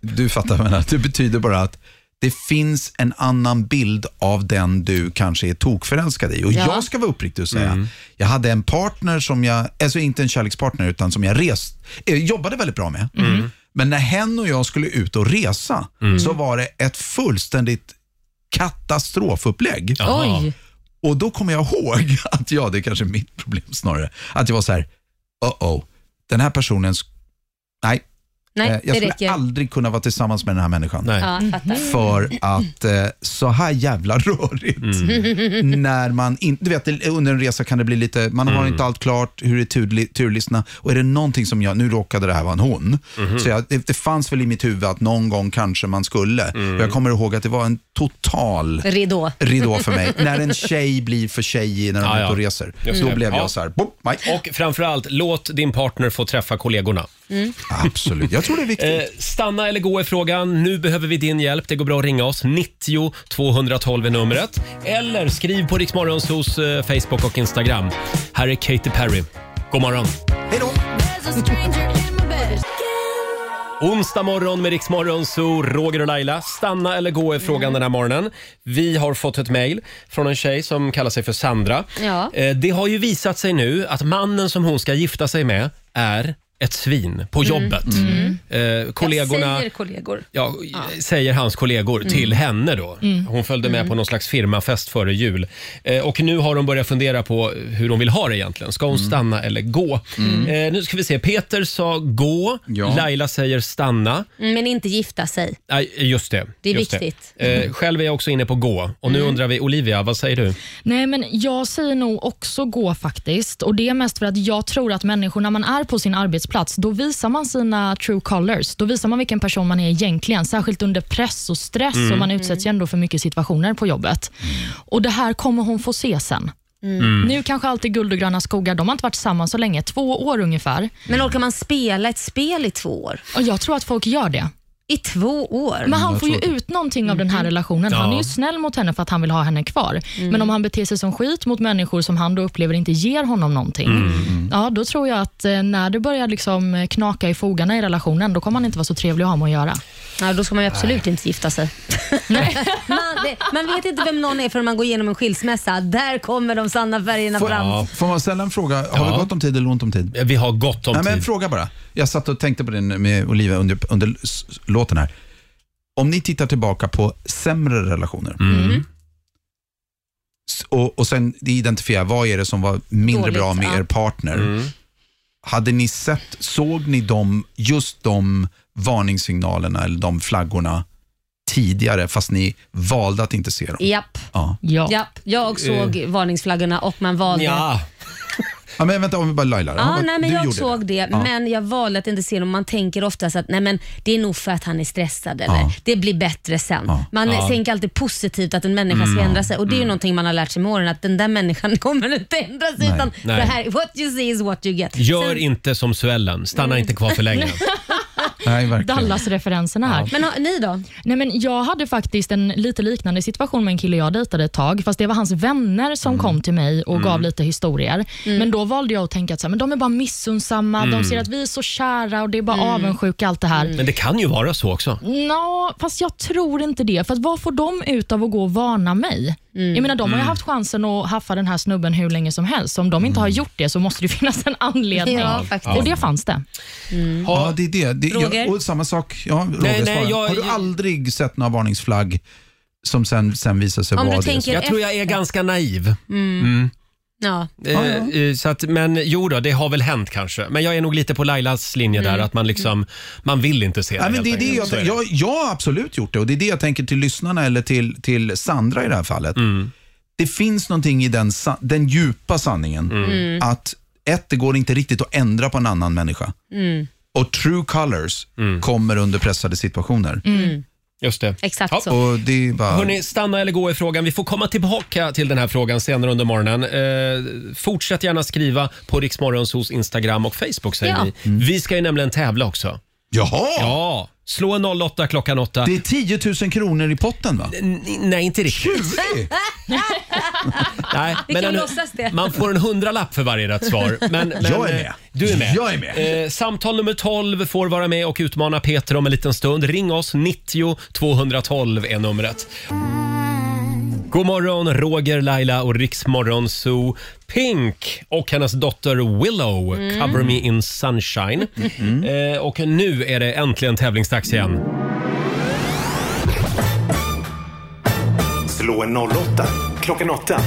du fattar vad jag menar, det betyder bara att det finns en annan bild av den du kanske är tokförälskad i. Och
Ja.
jag ska vara uppriktig och säga,
Mm.
jag hade en partner som jag, alltså inte en kärlekspartner, utan som jag rest, eh, jobbade väldigt bra med.
Mm.
Men när hen och jag skulle ut och resa
Mm.
så var det ett fullständigt katastrofupplägg.
Jaha. Oj.
Och då kommer jag ihåg *laughs* att, ja det är kanske är mitt problem snarare, att jag var så här, oh-oh, den här personen, sk- nej,
Nej,
Eh,
det
jag skulle
räcker.
aldrig Mm. kunna vara tillsammans med den här människan.
Ja, jag fattar.
För att eh, så här jävla *laughs* rörigt.
Mm.
När man in, du vet, det- under en resa kan det bli lite, man har
Mm.
inte allt klart, hur är turli, turlistorna? Och är det någonting som jag, nu råkade det här vara en hon,
Mm-hmm.
Mhm.
så jag, det, det fanns väl i mitt huvud att någon gång kanske man skulle.
Mm.
Och jag kommer ihåg att det var en total
Ridå.
ridå för mig. när en tjej blir för tjejig när de är
Ja,
ute
ja.
och reser,
Just
då
det.
blev
Ja.
jag så här, boop, nej.
Och framförallt, låt din partner få träffa kollegorna.
Mm.
Absolut, jag tror det är viktigt.
Eh, stanna eller gå är frågan. Nu behöver vi din hjälp. Det går bra att ringa oss. 90 212 är numret. Eller skriv på Riksmorgons hos eh, Facebook och Instagram. Här är Katy Perry. God morgon.
Hej då!
Onsdag morgon med Riksmorgon så Roger och Laila. Stanna eller gå är frågan den här morgonen. Vi har fått ett mejl från en tjej som kallar sig för Sandra.
Ja.
Eh, Det har ju visat sig nu att mannen som hon ska gifta sig med är ett svin på
Mm.
jobbet.
Mm.
Eh, kollegorna
Jag säger kollegor.
ja, säger hans kollegor
Mm.
till henne då.
Mm.
Hon följde med
Mm.
på någon slags firmafest före jul. Eh, och nu har hon börjat fundera på hur hon vill ha det egentligen. Ska
Mm.
hon stanna eller gå? Eh, nu ska vi se. Peter sa gå. Laila säger stanna.
Mm, Men inte gifta sig.
Nej, just det.
Det är
just
viktigt. Mm.
Det. Eh, själv är jag också inne på gå. Och nu undrar vi, Olivia, vad säger du?
Nej, men jag säger nog också gå faktiskt. Och Det är mest för att jag tror att människor, när man är på sin arbetsplats, då visar man sina true colors. Då visar man vilken person man är egentligen, särskilt under press och stress.
Mm.
Och Man utsätts ju ändå för mycket situationer på jobbet. Och Det här kommer hon få se sen.
Mm.
Nu kanske allt är guld och gröna skogar. De har inte varit tillsammans så länge, två år ungefär.
Men orkar man spela ett spel i två år?
Och jag tror att folk gör det.
I två år?
Men han får ju ut någonting av den här relationen. Han är ju snäll mot henne för att han vill ha henne kvar.
Mm.
Men om han beter sig som skit mot människor som han då upplever inte ger honom någonting,
Mm.
ja, då tror jag att eh, när det börjar liksom eh, knaka i fogarna i relationen, då kommer han inte vara så trevlig att ha med att göra.
Ja, då ska man ju absolut inte gifta sig. *laughs* man, det, man vet inte vem någon är förrän man går igenom en skilsmässa. Där kommer de sanna färgerna
Får,
fram.
får man ställa en fråga? Har vi gått om tid eller ont om tid?
Vi har gått om
Nej, men
tid.
En fråga bara. Jag satt och tänkte på det med Olivia under, under s- låten här. Om ni tittar tillbaka på sämre relationer
Mm.
s- och, och sen identifiera vad är det som var mindre
Dåligt,
bra med
ja.
er partner.
Mm.
Hade ni sett, såg ni de, just de varningssignalerna eller de flaggorna tidigare fast ni valde att inte se dem?
Japp.
Ja.
Ja.
Japp. Jag och såg
Eh.
varningsflaggorna och man valde...
ja men vänta, om vi bara Laila.
Ja,
Vad-
nej, men
du
jag
gjorde
såg det,
Ja.
men jag valde att inte se dem. Man tänker ofta så att nej, men det är nog för att han är stressad eller
Ja.
det blir bättre sen.
Ja.
Man
Ja.
tänker alltid positivt att en människa ska
Mm.
ändra sig och det är ju
Mm.
någonting man har lärt sig med åren att den där människan *laughs* kommer inte ändra sig
Nej.
utan
Nej.
det här, what you see is what you get.
Gör
Sen-
inte som Suellen. Stanna inte kvar för
*laughs*
länge.
Nej,
Dallas-referenserna här.
Men har, ni då?
Nej, men jag hade faktiskt en lite liknande situation med en kille jag dejtade ett tag, fast det var hans vänner som kom till mig och gav lite historier. Men då valde jag att tänka att så här, men de är bara missunnsamma,
Mm.
de ser att vi är så kära och det är bara avundsjuka allt det här.
Men det kan ju vara så också.
Nå, fast jag tror inte det. För att vad får de ut av att gå och varna mig? Jag menar, de har ju
Mm.
haft chansen att haffa den här snubben hur länge som helst. Om de inte har gjort det så måste det *laughs* finnas en anledning.
Ja, faktiskt.
Och det fanns det.
Ja, det är det. det
Roger?
Jag, och samma sak, ja, Roger
Nej, nej,
svarar.
jag-
Har du aldrig sett några varningsflagg som sen, sen visar sig
Om
vara
du
det?
tänker
som-
Jag tror jag är ganska naiv.
Mm.
Mm.
Ja.
Eh, eh, Så att, men jo då, det har väl hänt kanske. Men jag är nog lite på Lailas linje där,
Mm.
att man liksom, man vill inte se det
Nej, men
helt
det är det
enkelt.
jag,
Så är det.
jag, jag har absolut gjort det och det är det jag tänker till lyssnarna eller till, till Sandra i det här fallet.
Mm.
Det finns någonting i den, sa- den djupa sanningen
Mm.
att ett, det går inte riktigt att ändra på en annan människa.
Mm.
Och true colors
Mm.
kommer under pressade situationer.
Mm.
Just det.
Exakt så.
Och det är bara...
Hörrni, stanna eller gå i frågan. Vi får komma tillbaka till den här frågan senare under morgonen. Eh, fortsätt gärna skriva på Riksmorgonsos Instagram och Facebook säger
Ja.
vi.
Mm.
Vi ska ju nämligen tävla också.
Jaha!
Ja, slå en 08 klockan 8.
Det är 10 000 kronor i potten va?
nej, inte riktigt. Nej,
Vi kan låtsas det.
Man får en hundralapp för varje rätt svar. Men, men,
Jag är
eh,
med.
Du är med.
Jag är med.
Eh, samtal nummer 12 får vara med och utmana Peter om en liten stund. Ring oss, 90 212 är numret. God morgon, Roger, Laila och Riksmorgon Zoo. Pink och hennes dotter Willow,
Mm.
Cover Me In Sunshine. Eh, och nu är det äntligen tävlingsdags igen.
Slå en 08 klockan 8.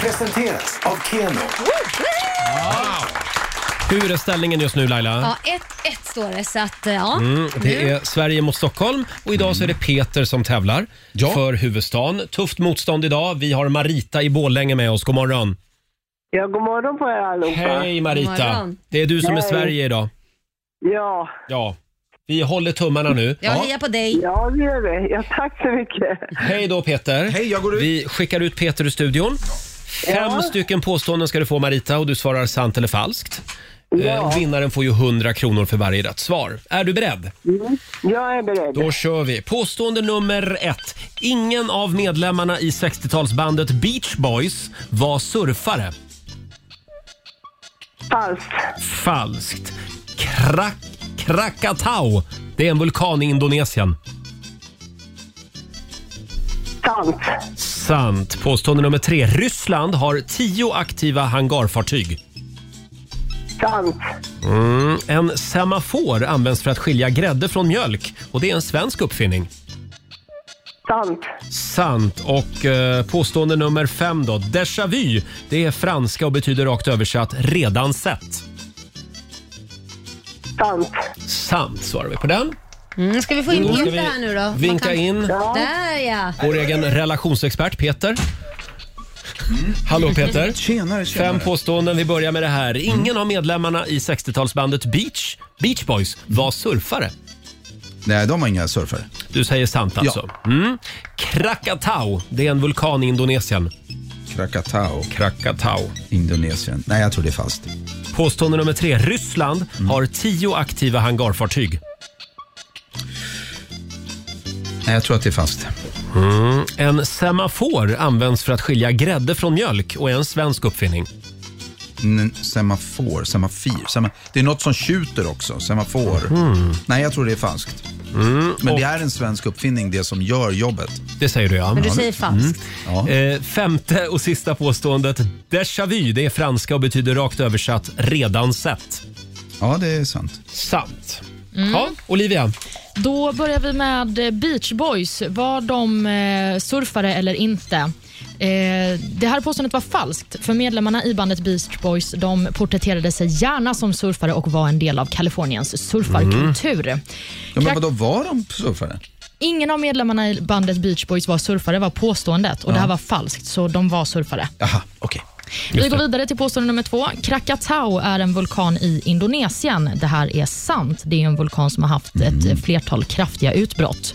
Presenteras av Keno.
Hur är ställningen just nu Laila?
Ja, 1-1 står det, så att eh, ja.
Mm, det
Nu.
är Sverige mot Stockholm och idag så är det Peter som tävlar för huvudstaden. Tufft motstånd idag. Vi har Marita i Borlänge med oss. God morgon.
Ja, god morgon på er allihopa.
Hej Marita. Det är du som är
Hej.
Sverige idag.
Ja.
Ja, vi håller tummarna nu.
Jag hejar på dig.
Ja, det gör vi. Ja, tack så mycket.
Hej då Peter. Hej, jag går ut. Vi skickar ut Peter ur studion. Fem
Ja.
stycken påståenden ska du få Marita och du svarar sant eller falskt.
Ja.
Eh, Vinnaren får ju 100 kronor för varje rätt svar. Är du beredd?
Mm. Jag är beredd.
Då kör vi. Påstående nummer ett. Ingen av medlemmarna i 60-talsbandet Beach Boys var surfare.
Falskt.
Falskt. Krak Krakatau. Det är en vulkan i Indonesien.
Sant.
Sant. Påstående nummer tre. Ryssland har tio aktiva hangarfartyg.
Sant.
Mm. En semafor används för att skilja grädde från mjölk och det är en svensk uppfinning.
Sant.
Sant. Och eh, påstående nummer fem då. Déjà vu. Det är franska och betyder rakt översatt redan sett.
Sant.
Sant svarar vi på den.
Mm, ska vi få in
Då ska
Peter
vi
här nu då? Man
vinka in. Ja.
Där ja.
Vår egen relationsexpert Peter. Hallå Peter.
Tjenare, tjenare.
Fem påståenden. Vi börjar med det här. Ingen av medlemmarna i 60-talsbandet Beach, Beach Boys var surfare.
Nej, de var inga surfare.
Du säger sant alltså. Mm. Krakatau, det är en vulkan i Indonesien.
Krakatau.
Krakatau.
Indonesien. Nej, jag tror det är falskt.
Påstående nummer tre. Ryssland har tio aktiva hangarfartyg.
Nej, jag tror att det är fast.
Mm. En semafor används för att skilja grädde från mjölk och är en svensk uppfinning.
N- semafor, semafir. Sema, det är något som tjuter också. Semafor.
Mhm.
Nej, jag tror det är falskt. Men det är en svensk uppfinning, det som gör jobbet.
Det säger du ja.
Men Mm. du säger falskt.
Eh, femte och sista påståendet. Déjà vu, det är franska och betyder rakt översatt redan sett.
Ja, det är sant.
Sant.
Mm.
Ja, Olivia.
Då börjar vi med eh, Beach Boys. Var de eh, surfare eller inte? Eh, det här påståendet var falskt, för medlemmarna i bandet Beach Boys de porträtterade sig gärna som surfare och var en del av Kaliforniens surfarkultur.
Ja, men vadå, var de surfare?
Ingen av medlemmarna i bandet Beach Boys var surfare, var påståendet. Och Det här
Ja.
var falskt, så de var surfare.
Jaha, okej.
Vi går vidare till påstående nummer två. Krakatau är en vulkan i Indonesien. Det här är sant. Det är en vulkan som har haft ett flertal kraftiga utbrott.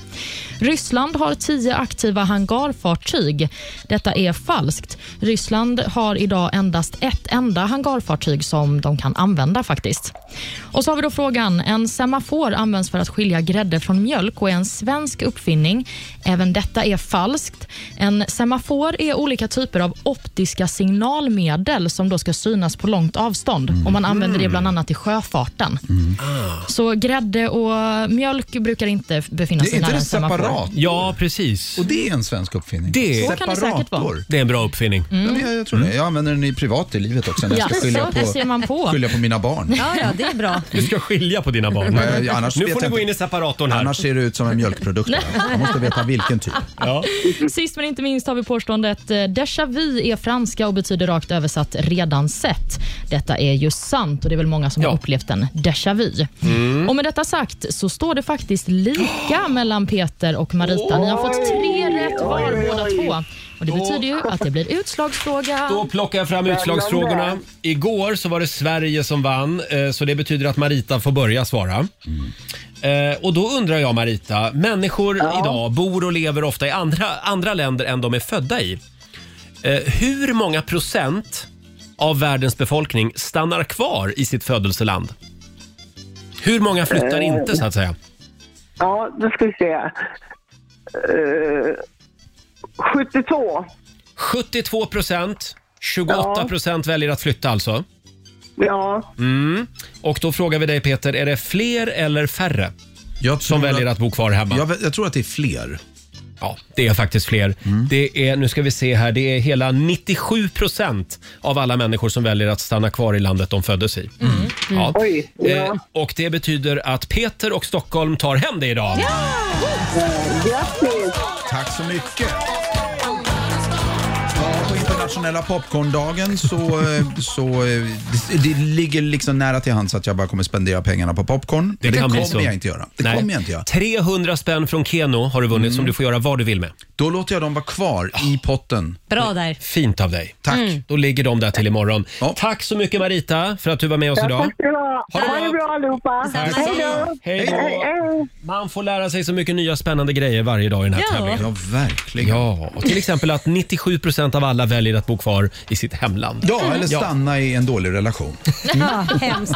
Ryssland har tio aktiva hangarfartyg. Detta är falskt. Ryssland har idag endast ett enda hangarfartyg som de kan använda faktiskt. Och så har vi då frågan. En semafor används för att skilja grädde från mjölk och är en svensk uppfinning. Även detta är falskt. En semafor är olika typer av optiska signalmedel som då ska synas på långt avstånd. Och Man använder det bland annat i sjöfarten.
Ah.
Så grädde och mjölk brukar inte befinna sig nära en semafor.
Ja, precis.
Och det är en svensk uppfinning.
Det är,
Så kan det säkert vara. Separator.
Det är en bra uppfinning.
Ja, jag, jag tror det. Jag använder den i privat i livet också när jag
Ja,
ska skilja
så
på,
ser man på.
skilja på mina barn.
Ja, ja, det är bra.
Du ska skilja på dina barn.
Mm. Ja, ja, annars
nu
vet
får du
jag
gå
inte.
in i separatorn här.
Annars ser det ut som en mjölkprodukt. Jag måste veta vilken typ.
Ja.
*laughs* Sist men inte minst har vi påståendet eh, déjà vu är franska och betyder rakt översatt redan sett. Detta är ju sant och det är väl många som har upplevt en déjà vu. Och med detta sagt så står det faktiskt lika mellan Peter och Marita. Ni har fått tre rätt var båda två. Och Det betyder ju att det blir utslagsfråga.
Då plockar jag fram utslagsfrågorna. Igår så var det Sverige som vann, eh, så det betyder att Marita får börja svara. Eh, Och då undrar jag Marita, människor idag bor och lever ofta i andra, andra länder än de är födda i. Eh, Hur många procent av världens befolkning stannar kvar i sitt födelseland? Hur många flyttar
Eh.
inte så att säga?
Ja, då ska vi se. Eh, 72.
72 procent, 28 procent väljer att flytta alltså.
Ja.
Mm. Och då frågar vi dig Peter, är det fler eller färre som väljer att bo kvar hemma?
Jag, jag tror att det är fler.
Ja, det är faktiskt fler.
Mm.
Det är, nu ska vi se här, det är hela 97 procent av alla människor som väljer att stanna kvar i landet de föddes i. Mm. Ja. Eh, och det betyder att Peter och Stockholm tar hem det idag.
Grattis!
Tack så mycket. Ja, På internationella popcorndagen så, eh, så eh, det, det ligger liksom nära till hands att jag bara kommer spendera pengarna på popcorn. Det, det
kan bli
kommer
så.
jag inte göra. Det
Nej.
kommer jag inte göra.
300 spänn från Keno har du vunnit
Mm.
som du får göra vad du vill med.
Då låter jag dem vara kvar i potten.
Bra där.
Fint av dig. Tack. Då ligger de där till imorgon. Tack så mycket Marita för att du var med oss idag.
Tack ska ni ha. Ha det bra allihopa.
Tack.
Hej då!
Hej då. Man får lära sig så mycket nya spännande grejer varje dag i den här
Ja.
tävlingen.
Ja, verkligen.
Ja, och till exempel att 97 av alla väljer att bo kvar i sitt hemland.
Ja, eller stanna i en dålig relation.
Hemskt.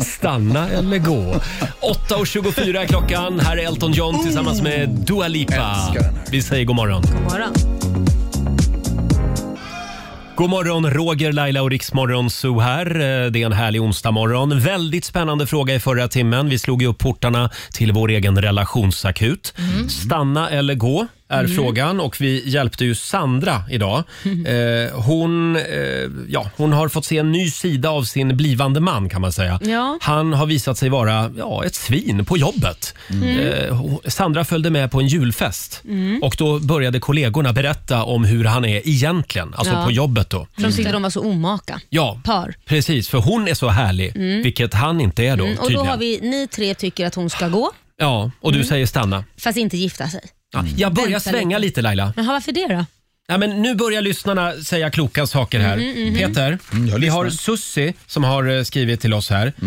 Stanna eller gå. 8.24 är klockan. Här är Elton John tillsammans med Dua Lipa. Vi säger god morgon.
God morgon.
God morgon, Roger, Laila och Riksmorgon Zoo här. Eh, Det är en härlig onsdagmorgon. Väldigt spännande fråga i förra timmen. Vi slog ju upp portarna till vår egen relationsakut. Stanna eller gå är
Mm.
frågan och vi hjälpte ju Sandra idag. Eh, hon, eh, ja, hon har fått se en ny sida av sin blivande man kan man säga.
Ja.
Han har visat sig vara ja, ett svin på jobbet.
Mm.
Eh, ho- Sandra följde med på en julfest
Mm.
och då började kollegorna berätta om hur han är egentligen, alltså
Ja.
på jobbet då.
För de tyckte de var så alltså omaka.
Ja,
Par.
precis. För hon är så härlig,
Mm.
vilket han inte är då
Mm, och då
tydligen.
har vi, ni tre tycker att hon ska gå,
Ja, och du säger stanna.
fast inte gifta sig.
Ja, jag börjar
Vänta
svänga lite Laila.
Men varför det då?
Ja, men nu börjar lyssnarna säga kloka saker här.
Mhm, mhm.
Peter, vi har Sussi som har eh, skrivit till oss här eh,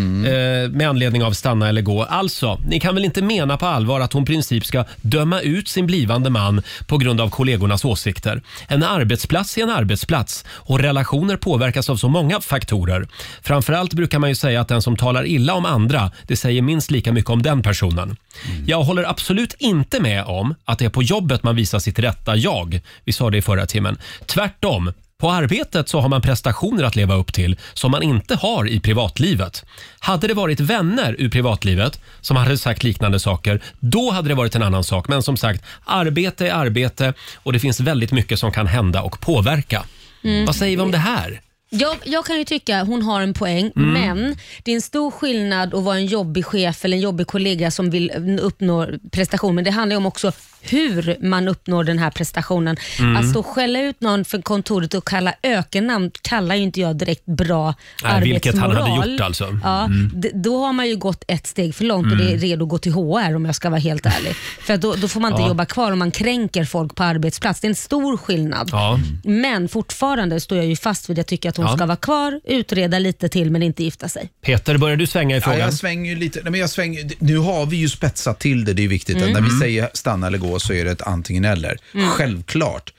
med anledning av stanna eller gå. Alltså, ni kan väl inte mena på allvar att hon i princip ska döma ut sin blivande man på grund av kollegornas åsikter? En arbetsplats är en arbetsplats och relationer påverkas av så många faktorer. Framförallt brukar man ju säga att den som talar illa om andra, det säger minst lika mycket om den personen. Mm. Jag håller absolut inte med om att det är på jobbet man visar sitt rätta jag. Vi sa det i förra timmen. Tvärtom. På arbetet så har man prestationer att leva upp till som man inte har i privatlivet. Hade det varit vänner ur privatlivet som hade sagt liknande saker, då hade det varit en annan sak. Men som sagt, arbete är arbete och det finns väldigt mycket som kan hända och påverka.
Mm.
Vad säger vi om det här?
Jag, jag kan ju tycka hon har en poäng,
Mm.
men det är en stor skillnad att vara en jobbig chef eller en jobbig kollega som vill eh, uppnå prestation. Men det handlar ju om också hur man uppnår den här prestationen.
Mm.
Att stå och skälla ut någon från kontoret och kalla ökennamn kallar ju inte jag direkt bra
Nej, vilket han hade
arbetsmoral.
gjort alltså.
Ja,
Mm.
d- då har man ju gått ett steg för långt och det är
Mm.
redo att gå till HR om jag ska vara helt ärlig. För att då, då får man inte
Ja.
jobba kvar om man kränker folk på arbetsplats. Det är en stor skillnad.
Ja.
Men fortfarande står jag ju fast vid att jag tycker att hon
Ja.
ska vara kvar, utreda lite till men inte gifta sig.
Peter, börjar du svänga i
Ja,
frågan?
jag svänger ju lite. Nej, men jag svänger, nu har vi ju spetsat till det, det är viktigt.
Mm.
När vi
Mm.
säger stanna eller gå så är det ett antingen eller.
Mm.
Självklart,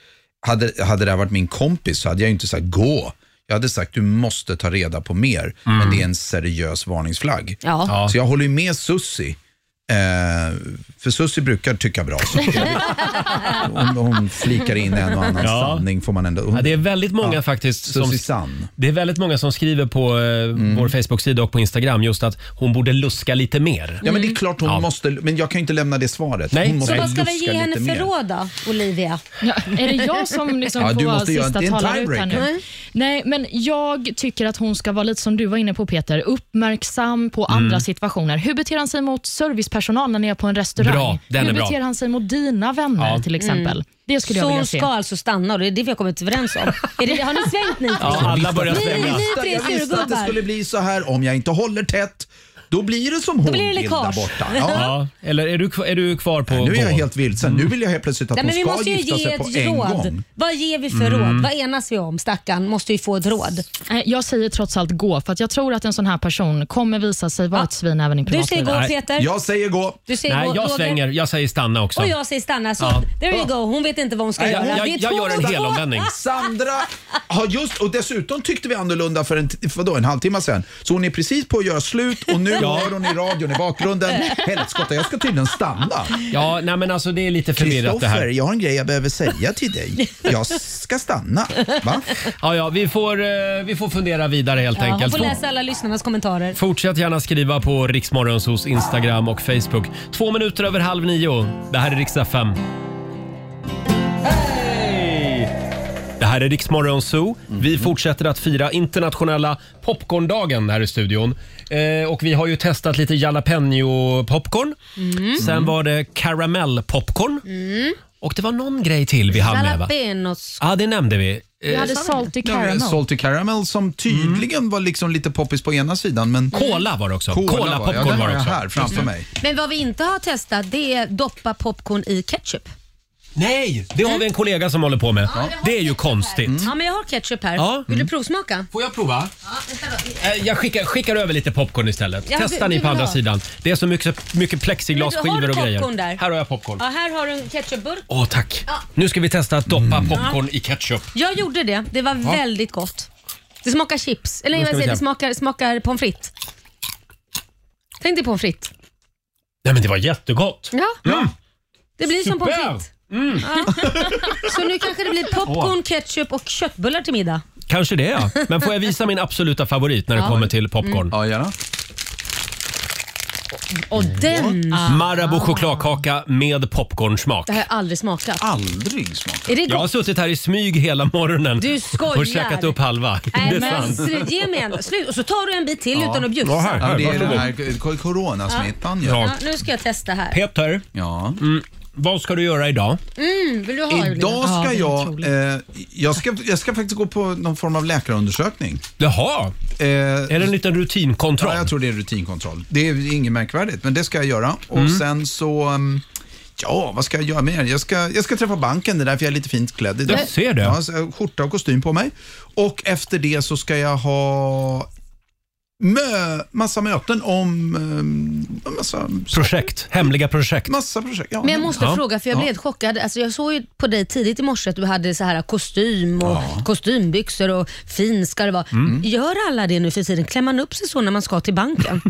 hade, hade det här varit min kompis så hade jag ju inte sagt gå. Jag hade sagt du måste ta reda på mer, men det är en seriös varningsflagg.
Ja. Ja.
Så jag håller ju med Sussi. Eh, för Sussi brukar tycka bra saker. hon, hon flikar in en och annan
Ja.
sanning får man ändå... Hon,
Ja, det är väldigt många
Ja.
faktiskt som,
Susie Sann.
det är väldigt många som skriver på eh,
Mm.
vår Facebook-sida och på Instagram just att hon borde luska lite mer.
Ja, men det är klart hon måste, men jag kan ju inte lämna det svaret.
Nej.
Hon måste
Så vad ska vi
luska
ge henne
lite mer.
för råd då, Olivia?
*laughs* är det jag som liksom
Ja,
får
du
vara
måste göra-
sista
det är en
talare ut här nu?
tiebreaker.
Nej. men jag tycker att hon ska vara lite som du var inne på Peter, uppmärksam på
Mm.
andra situationer. Hur beter han sig mot servicepersonal när ni är på en restaurang?
Bra, den
Hur
är bra.
beter han sig mot dina vänner
Ja.
till exempel?
Mm.
Det skulle
så
jag vilja
hon
se.
ska alltså stanna och det är det vi har kommit överens om. är det, har ni svängt ni tre?
Liksom,
Ja, alla börjar
Ni-
svänga.
Ni
Jag
tre
visste- jag visste att det
surgubbar.
skulle bli så här om jag inte håller tätt. Då blir det som hon
blir det
vill
läckage.
där borta.
Ja, Eller är du, kva- är du kvar på...
nu är jag helt vilsen.
Mm.
Nu vill jag helt plötsligt att
Nej, men vi
hon ska
måste ju
gifta
ge
sig på
ett
en
råd.
gång.
Vad ger vi för
Mm.
råd? Vad enas vi om? Stackarn måste ju få ett råd.
Nej, Eh, Jag säger trots allt gå, för att jag tror att en sån här person kommer visa sig vara ett svin även i privatlivet.
Jag säger gå.
Du säger
Nej,
gå,
jag
Roger.
svänger. Jag säger stanna också.
Och jag säger stanna. Så
Ja.
there you go. Hon vet inte vad hon ska
Nej,
göra.
jag-
Det är
jag
två
gör en
mot två.
helomvändning.
*laughs*
Sandra har just, och dessutom tyckte vi annorlunda för en, t- vadå, en halvtimme sedan. Så hon är precis på att göra slut och
*laughs*
nu
Ja.
hör hon i radion i bakgrunden. Helskotta, jag ska tydligen stanna.
Ja, nej men alltså det är lite förvirrat det
Kristoffer,
här.
jag har en grej jag behöver säga till dig. Jag ska stanna. Va?
Ja, ja, vi får, eh, vi får fundera vidare helt
Ja, hon
enkelt.
får läsa alla lyssnarnas kommentarer.
Fortsätt gärna skriva på Riksmorgons hos Instagram och Facebook. Två minuter över halv nio. Det här är riksdag 5. Det här är Riksmorgon Zoo.
Mhm.
Vi fortsätter att fira internationella popcorndagen här i studion. Eh, och vi har ju testat lite jalapeno popcorn.
Mm.
Sen var det karamell popcorn.
Mm.
Och det var någon grej till vi hann med va?
Jalapenos.
Ja, det nämnde vi. Eh,
Vi hade salty
Ja, men
caramel.
Salty Caramel som tydligen var liksom lite poppis på ena sidan. Men
Mm. Cola var det också.
Cola,
Cola
var, ja,
popcorn
den
var
har
det
jag
också.
här framför
Mm.
mig.
Men vad vi inte har testat det är doppa popcorn i ketchup.
Nej, det har vi en kollega som håller på med. Det är ju konstigt.
Ja, men jag har ketchup här.
Ja.
Vill
Mm.
du provsmaka?
Får jag prova? Eh, Jag skickar, skickar över lite popcorn istället.
Ja,
Testa
du-
ni
du
på
vill
andra
ha.
sidan. Det är så mycket, mycket
Men du-
plexiglasskivor
har
och
du
grejer.
popcorn där?
Här har jag popcorn.
Ja, här har du en ketchupburk.
Åh, tack. Nu ska vi testa att doppa
Mm.
popcorn i ketchup.
Jag gjorde det. Det var
Ja.
väldigt gott. Det smakar chips. Eller
Då
jag
ska vi
säger, det
se.
smakar, smakar pommes frites. Tänk dig pommes frites.
Nej, men det var jättegott.
Ja.
Mm.
Det blir som pommes
Super!
frites.
Mm.
Ja. Så nu kanske det blir popcorn, ketchup och köttbullar till middag.
Kanske det, ja. Men får jag visa min absoluta favorit när det
Ja.
kommer till popcorn?
Mm.
Ja,
gärna.
Och den...
Marabou chokladkaka med popcornsmak.
Det har jag aldrig smakat.
Aldrig smakat.
Är det
Jag har
gott?
suttit här i smyg hela morgonen
Du skojar. Äh.
och käkat upp halva.
Nej,
det är
men
sant.
slut, ge mig en. Slut. Och så tar du en bit till utan att bjussa.
Ja, här, här,
det är den
varsågod.
här coronasmittan.
Ja.
Ja, nu ska jag testa här.
Peter, mm, vad ska du göra idag?
Mm, vill du ha Olivia?
Idag ska jag, eh, jag, ska, jag ska faktiskt gå på någon form av läkarundersökning. Eh,
Jaha, är det en liten rutinkontroll?
Ja, jag tror det är en rutinkontroll. Det är inget märkvärdigt, men det ska jag göra. Och
Mm.
sen så, mm, Ja, vad ska jag göra mer? Jag ska, jag ska träffa banken, det är därför jag är lite fint klädd idag.
Jag ser det.
Ja, så jag har skjorta och kostym på mig. Och efter det så ska jag ha mö, massa möten om... eh, Massa,
Projekt, hemliga projekt.
Massa projekt, ja.
Men jag måste
Ja.
fråga, för jag
Ja.
blev helt chockad. Alltså, jag såg ju på dig tidigt i morse att du hade så här kostym och
Ja.
kostymbyxor och fin ska det vara.
Mm.
Gör alla det nu för tiden? Klär man upp sig så när man ska
*laughs*
till banken?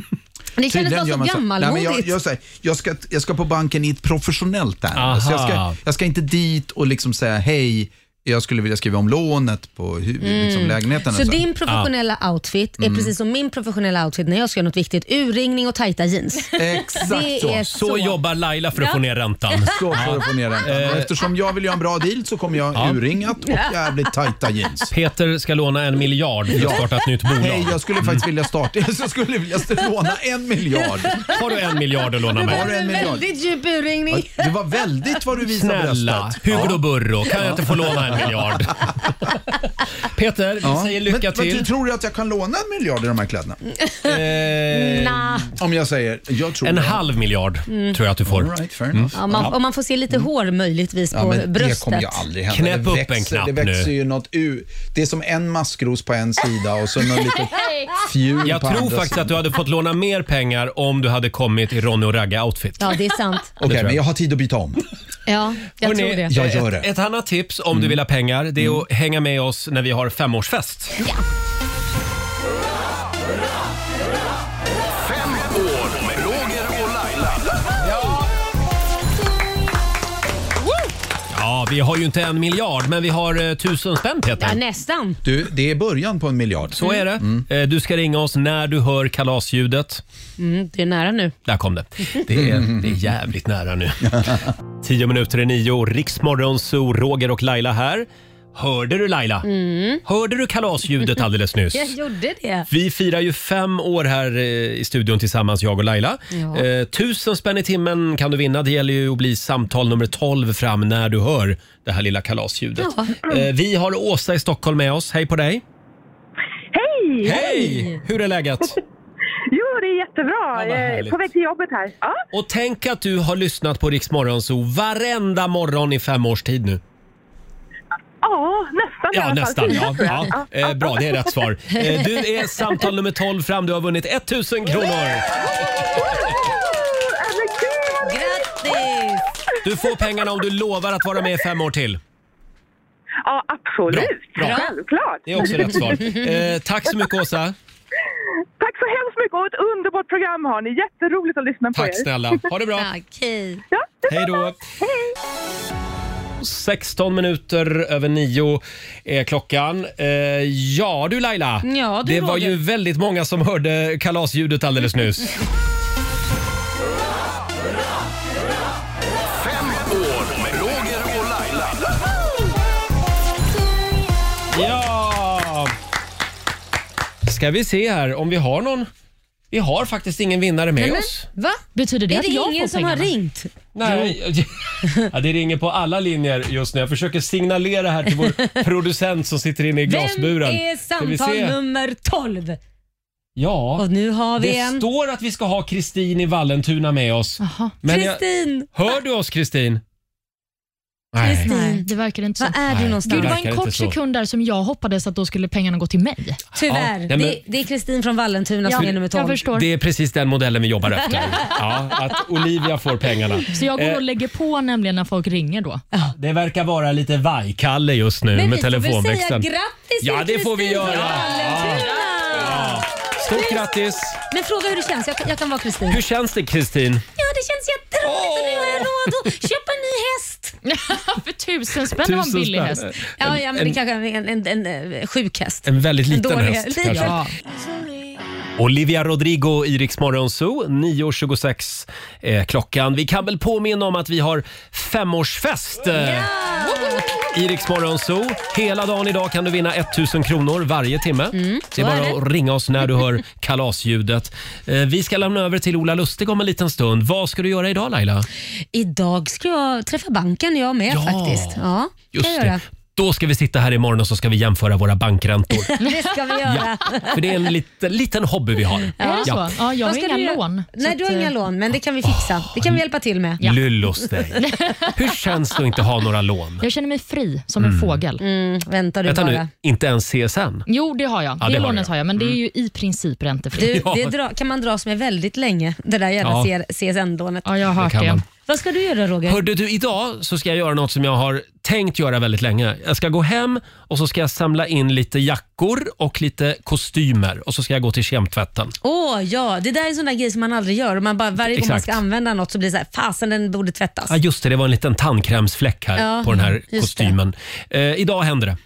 det kändes
Tydligen
bara
gör
så
man Nej, men
gammalmodigt.
jag, jag, säger, jag, ska, jag ska på banken i ett professionellt
Aha.
ärende. Så jag, ska, jag ska inte dit och liksom säga hej, jag skulle vilja skriva om lånet på hu-
Mm.
liksom lägenheten.
Så
och
din professionella outfit är
Mm.
precis som min professionella outfit när jag ska göra något viktigt. Urringning och
*laughs*
tajta jeans.
Exakt
det
så.
är
Så, jobbar Laila för att
Ja.
få ner räntan.
*laughs*
Så för att få ner räntan. Och Eftersom jag vill göra en bra deal så kommer jag
Ja.
urringat och jävligt tajta
*laughs*
jeans.
Peter ska låna en miljard för att
Ja.
starta ett nytt bolag.
Nej, jag skulle faktiskt vilja starta... *laughs* Jag skulle vilja låna en
*laughs*
miljard.
Har du en miljard att låna
Det
mig?
var en miljard.
djup urringning.
Det var väldigt vad du visade
Snälla,
bröstet.
Hugo
Ja.
Burro, kan jag inte få låna en
*laughs*
miljard? Peter, vi säger lycka
men,
till.
Men du tror du att jag kan låna en miljard i de här kläderna?
Nah.
Om jag säger, jag tror
Eh, En
det.
halv miljard
Mm.
tror jag att du får.
All right, fair
Mm.
enough.
Ja, man, om man får se lite hår möjligtvis på bröstet.
Mm. Det kommer ju aldrig hända.
Knäpp
det
upp
växer,
en knapp
det växer
nu.
Ju något ur. Det är som en maskros på en sida och så något
*laughs*
litet fjul
Jag
på
tror
andra
faktiskt
sidan.
att du hade fått låna mer pengar om du hade kommit i Ronny och Ragge-outfit.
Ja, det är
*laughs*
sant.
Okej, men jag har tid att byta om.
Ja, jag
Hörrni,
tror det.
jag gör det. Mm.
Ett, ett annat tips om du vill ha pengar det är att hänga med oss när vi har femårsfest.
år med Roger och Laila.
Ja, vi har ju inte en miljard men vi har eh, tusen spänn Peter.
Ja, Mm. nästan.
Du, det är början på en miljard.
Så är det. Eh, Du ska ringa oss när du hör kalasljudet.
Mm, det är nära nu.
Där kom det. Det är, det är jävligt nära nu. *laughs* Tio minuter i nio, Riksmorgon, Zoo, Roger och Laila här. Hörde du Laila?
Mm.
Hörde du kalasljudet alldeles
*laughs*
nyss?
Jag gjorde det.
Vi firar ju fem år här eh, i studion tillsammans, jag och Laila.
Ja.
Eh, tusen spänn i timmen kan du vinna. Det gäller ju att bli samtal nummer 12 fram när du hör det här lilla kalasljudet. Eh, vi har Åsa i Stockholm med oss. Hej på dig!
Hej!
Hej! Hur är läget?
Jo, det är jättebra.
vad
Jag är
härligt.
på väg till jobbet här. Ja,
Och tänk att du har lyssnat på Rix Morgonzoo varenda morgon i fem års tid nu.
ja nästan i
Ja,
alla fall.
nästan.
Fyra,
Ja,
tror jag.
ja. Eh, bra, det är rätt svar. Eh, du är samtal nummer 12 fram. Du har vunnit 1000 kronor.
Äh, men gud, vad
Grattis!
Du får pengarna om du lovar att vara med i fem år till.
Ja, absolut.
Bra, bra.
Självklart.
Det är också rätt svar. Eh, tack så mycket Åsa.
Tack så hemskt mycket och ett underbart program har ni. Jätteroligt att lyssna på er.
Tack snälla. Ha det bra.
Okej.
Hej då. 16 minuter över nio är klockan. Eh, ja du Laila,
Ja, du,
det var
Roger.
ju väldigt många som hörde kalasljudet alldeles nyss.
År med Roger och Laila.
Ja! Ska vi se här om vi har någon. Vi har faktiskt ingen vinnare med oss.
Va?
Betyder det
är
att
det
jag får
ingen som har
pengarna?
ringt?
Nej. *laughs* Ja, det ringer på alla linjer just nu. Jag försöker signalera här till
*laughs*
vår producent som sitter inne i glasburen.
Vem är
Ska vi
samtal
se?
nummer 12?
Ja,
Och nu har vi
det
en. Ah.
står att vi ska ha Kristin i Vallentuna med oss. Men jag,
Kristin! Ah.
hör du oss Kristin? Nej.
Nej, det verkar inte så.
Var är du
Nej,
någonstans?
Gud, det var
verkar
en
inte
kort
så.
sekund där som jag hoppades att då skulle pengarna gå till mig.
Ja,
Tyvärr.
nej, men-
det, det är Kristin från Vallentuna som
Ja,
är nummer 12.
jag förstår.
Det är precis den modellen vi jobbar
*laughs*
efter. Ja, att Olivia får pengarna.
Så jag går
Eh,
och lägger på nämligen när folk ringer då.
Det verkar vara lite vajkalle just nu
Men vi
med
får väl säga
telefonväxeln.
grattis till
Ja, det får vi
Kristin
göra.
från
Ja.
Vallentuna.
Ja. Stort grattis!
Men fråga hur det känns. Jag kan, jag kan vara Kristin.
Hur känns det Kristin?
Ja, det känns jätteroligt och nu har jag råd att köpa en ny häst.
För tusen spänn var en
Tusen
billig häst.
spänn.
Ja, ja men det
En-
kanske är en, en, en, en eh, sjuk häst.
En väldigt liten
dålig-
häst
liten.
kanske. Olivia Rodrigo i Rix Morgon Zoo. 9.26 är klockan. Vi kan väl påminna om att vi har femårsfest eh, i Rix Morgon Zoo. Hela dagen idag kan du vinna 1000 kronor varje timme. det är
så
bara
är det.
att ringa oss när du hör *laughs* kalasljudet. Eh, Vi ska lämna över till Ola Lustig om en liten stund. Vad ska du göra idag Laila?
Idag ska jag träffa banken jag med faktiskt. Ja,
Just
kan jag
det.
göra.
Då ska vi sitta här imorgon och så ska vi jämföra våra bankräntor.
Det ska vi göra.
För det är en liten, liten hobby vi har.
Ja.
så? Ja, jag
Vad
har
ska
inga
du göra?
lån, så
Nej, du har
att,
inga
eh,
lån, men det kan vi fixa. Det kan vi hjälpa till med.
Lyllos dig. Hur känns det att inte ha några lån?
Jag känner mig fri som en
Mm.
fågel.
Mm, vänta
Vänta nu, inte ens CSN?
Jo, det har jag.
Ja,
det
det har
lånet
du.
har jag, men det är
Mm.
ju i princip räntefritt.
Du, det dra, kan man dras med väldigt länge, det där jävla
Ja.
CSN-lånet.
Ja, jag har
Det kan det. man.
Vad ska du göra Roger?
Hörde du, idag så ska jag göra något som jag har tänkt göra väldigt länge. Jag ska gå hem och så ska jag samla in lite jackor och lite kostymer och så ska jag gå till kemtvätten.
Åh ja, det där är en sån där grej som man aldrig gör. Och man bara, varje gång man
Exakt.
ska använda något så blir det så här, fasen den borde tvättas.
Ja, just det. Det var en liten tandkrämsfläck här
Ja,
på den här
just det. Mm,
kostymen. Eh, idag händer det.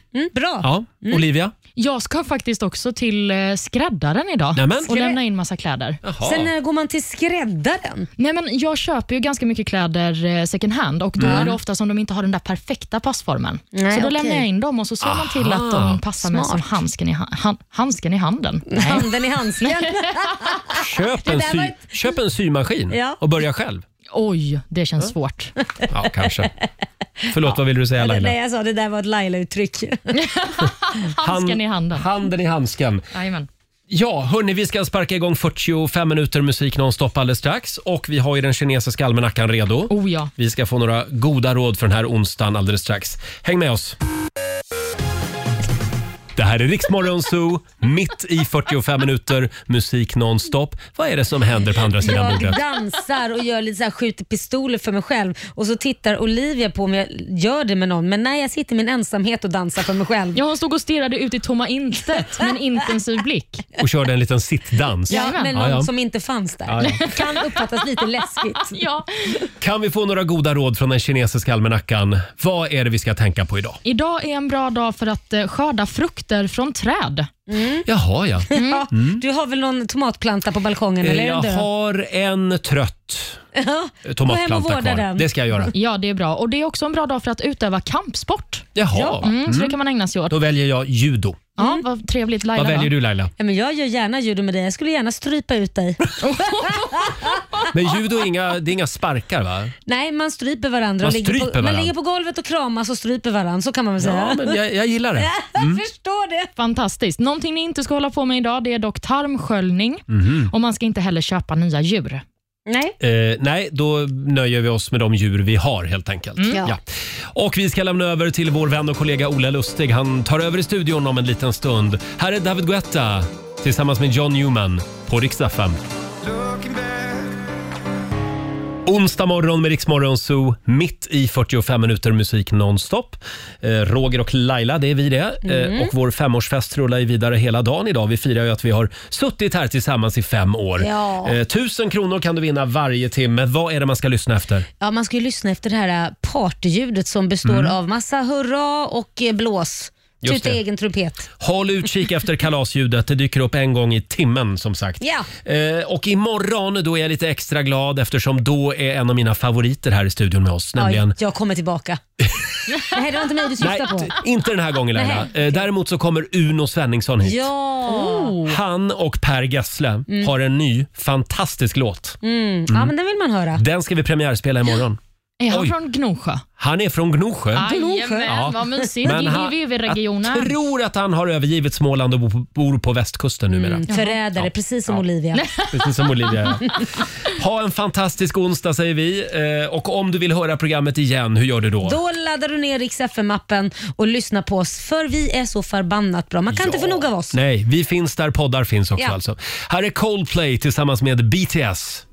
bra.
Ja, Olivia?
Jag ska faktiskt också till eh, skräddaren idag
Nämen.
och lämna in massa kläder.
Sen när går man till skräddaren?
Nej, men jag köper ju ganska mycket kläder eh, second hand och då
Mm.
är det ofta som de inte har den där perfekta passformen.
Nej,
så då
okej.
lämnar jag in dem och så ser man till att
Aha.
de passar mig som handsken i, ha- han- handsken i handen. Nej.
Handen i handsken.
Köp
Det
en,
där var
sy-
ett-
köp en symaskin
Ja.
och börja själv.
Oj, det känns svårt.
Ja, kanske. Förlåt, vad ville du säga Laila?
Nej, jag sa det där var ett Laila-uttryck.
Hand-
handen.
Handen i handsken.
Jajamän.
Ja, hörni, vi ska sparka igång 45 minuter musik nonstop alldeles strax. Och vi har ju den kinesiska almanackan redo.
Oh, ja.
Vi ska få några goda råd för den här onsdagen alldeles strax. Häng med oss! Det här är Riksmorgon Zoo, mitt i 45 minuter musik nonstop. Vad är det som händer på andra sidan
Jag
bordet?
dansar och gör lite så här, skjuter pistoler för mig själv och så tittar Olivia på mig jag gör det med någon men nej jag sitter i min ensamhet och dansar för mig själv.
Ja, hon stod och stirrade ut i tomma intet med en intensiv blick.
Och körde en liten sittdans.
Ja, men någon
Ja, ja.
som inte fanns där.
Ja, ja.
Kan uppfattas lite läskigt.
*laughs* Ja.
Kan vi få några goda råd från den kinesiska almanackan? Vad är det vi ska tänka på idag?
Idag är en bra dag för att eh, skörda frukter från träd.
Jaha, ja.
Mm. Ja, Du har väl någon tomatplanta på balkongen? Eller är
Mm. Eh, jag
den död?
har en trött
Ja, gå hem och
tomatplanta
vårda
kvar.
den. Mm.
Det ska jag göra.
Ja, det är bra. Och Det är också en bra dag för att utöva kampsport.
Jaha.
Mm, Så det
Mm.
kan man ägna sig åt.
Då väljer jag judo.
Ja, vad trevligt. Laila,
Vad väljer
då?
du
*laughs*
Laila?
Ja, men jag gör gärna judo med dig. Jag skulle gärna strypa
*laughs*
ut dig.
Men judo är inga, det är inga sparkar va?
Nej, man stryper varandra.
Man
och ligger,
stryper
på, man
varandra.
ligger på golvet och kramas och stryper varandra. Så kan man väl säga.
Ja, men jag, jag gillar
*laughs*
det. Mm.
förstår det.
Fantastiskt. Någonting ni inte ska hålla på med idag det är dock tarmsköljning.
Mhm.
Och man ska inte heller köpa nya djur.
Nej.
Eh, nej, då nöjer vi oss med de djur vi har helt enkelt.
Mm.
Ja.
Ja.
Och vi ska lämna över till vår vän och kollega Ola Lustig. Han tar över i studion om en liten stund. Här är David Guetta tillsammans med John Newman på riksdag 5. Onsdag morgon med Riksmorgon Zoo, mitt i 45 minuter musik nonstop. Eh, Roger och Laila, det är vi det. Eh,
Mm.
Och vår femårsfest rullar ju vidare hela dagen idag. Vi firar ju att vi har suttit här tillsammans i fem år.
Ja.
Eh, Tusen kronor kan du vinna varje timme. Vad är det man ska lyssna efter?
Ja, man ska ju lyssna efter det här äh, partyljudet som består
Mm.
av massa hurra och eh, blås.
Just
Tuta
det.
egen trumpet.
Håll utkik
*laughs*
efter kalasljudet. Det dyker upp en gång i timmen som sagt.
Ja.
Eh, och imorgon då är jag lite extra glad eftersom då är en av mina favoriter här i studion med oss, nämligen
Ja, jag
*laughs*
kommer tillbaka. Nej, det var inte mig du syftade
Nej,
på.
t- inte den här gången Laila. Eh, Däremot så kommer Uno Svenningsson hit.
Ja.
Han och Per Gessle
Mm.
har en ny fantastisk låt.
Mm.
Mm.
ja, men den vill man höra.
Den ska vi premiärspela imorgon.
Är han
Oj.
från Gnosjö?
Han är från Gnosjö.
Jajamän, vad mysigt.
Men han-
GVV-regionen.
Jag tror att han har övergivit Småland och bo- bor på västkusten numera.
Mm, förrädare, precis som Olivia.
*laughs* Precis som Olivia. ja. Ha en fantastisk onsdag säger vi. Eh, Och om du vill höra programmet igen, hur gör du då?
Då laddar du ner Rix FM-appen och lyssnar på oss, för vi är så förbannat bra. Man kan inte få nog av oss.
Nej, vi finns där poddar finns också
Ja.
alltså. Här är Coldplay tillsammans med BTS.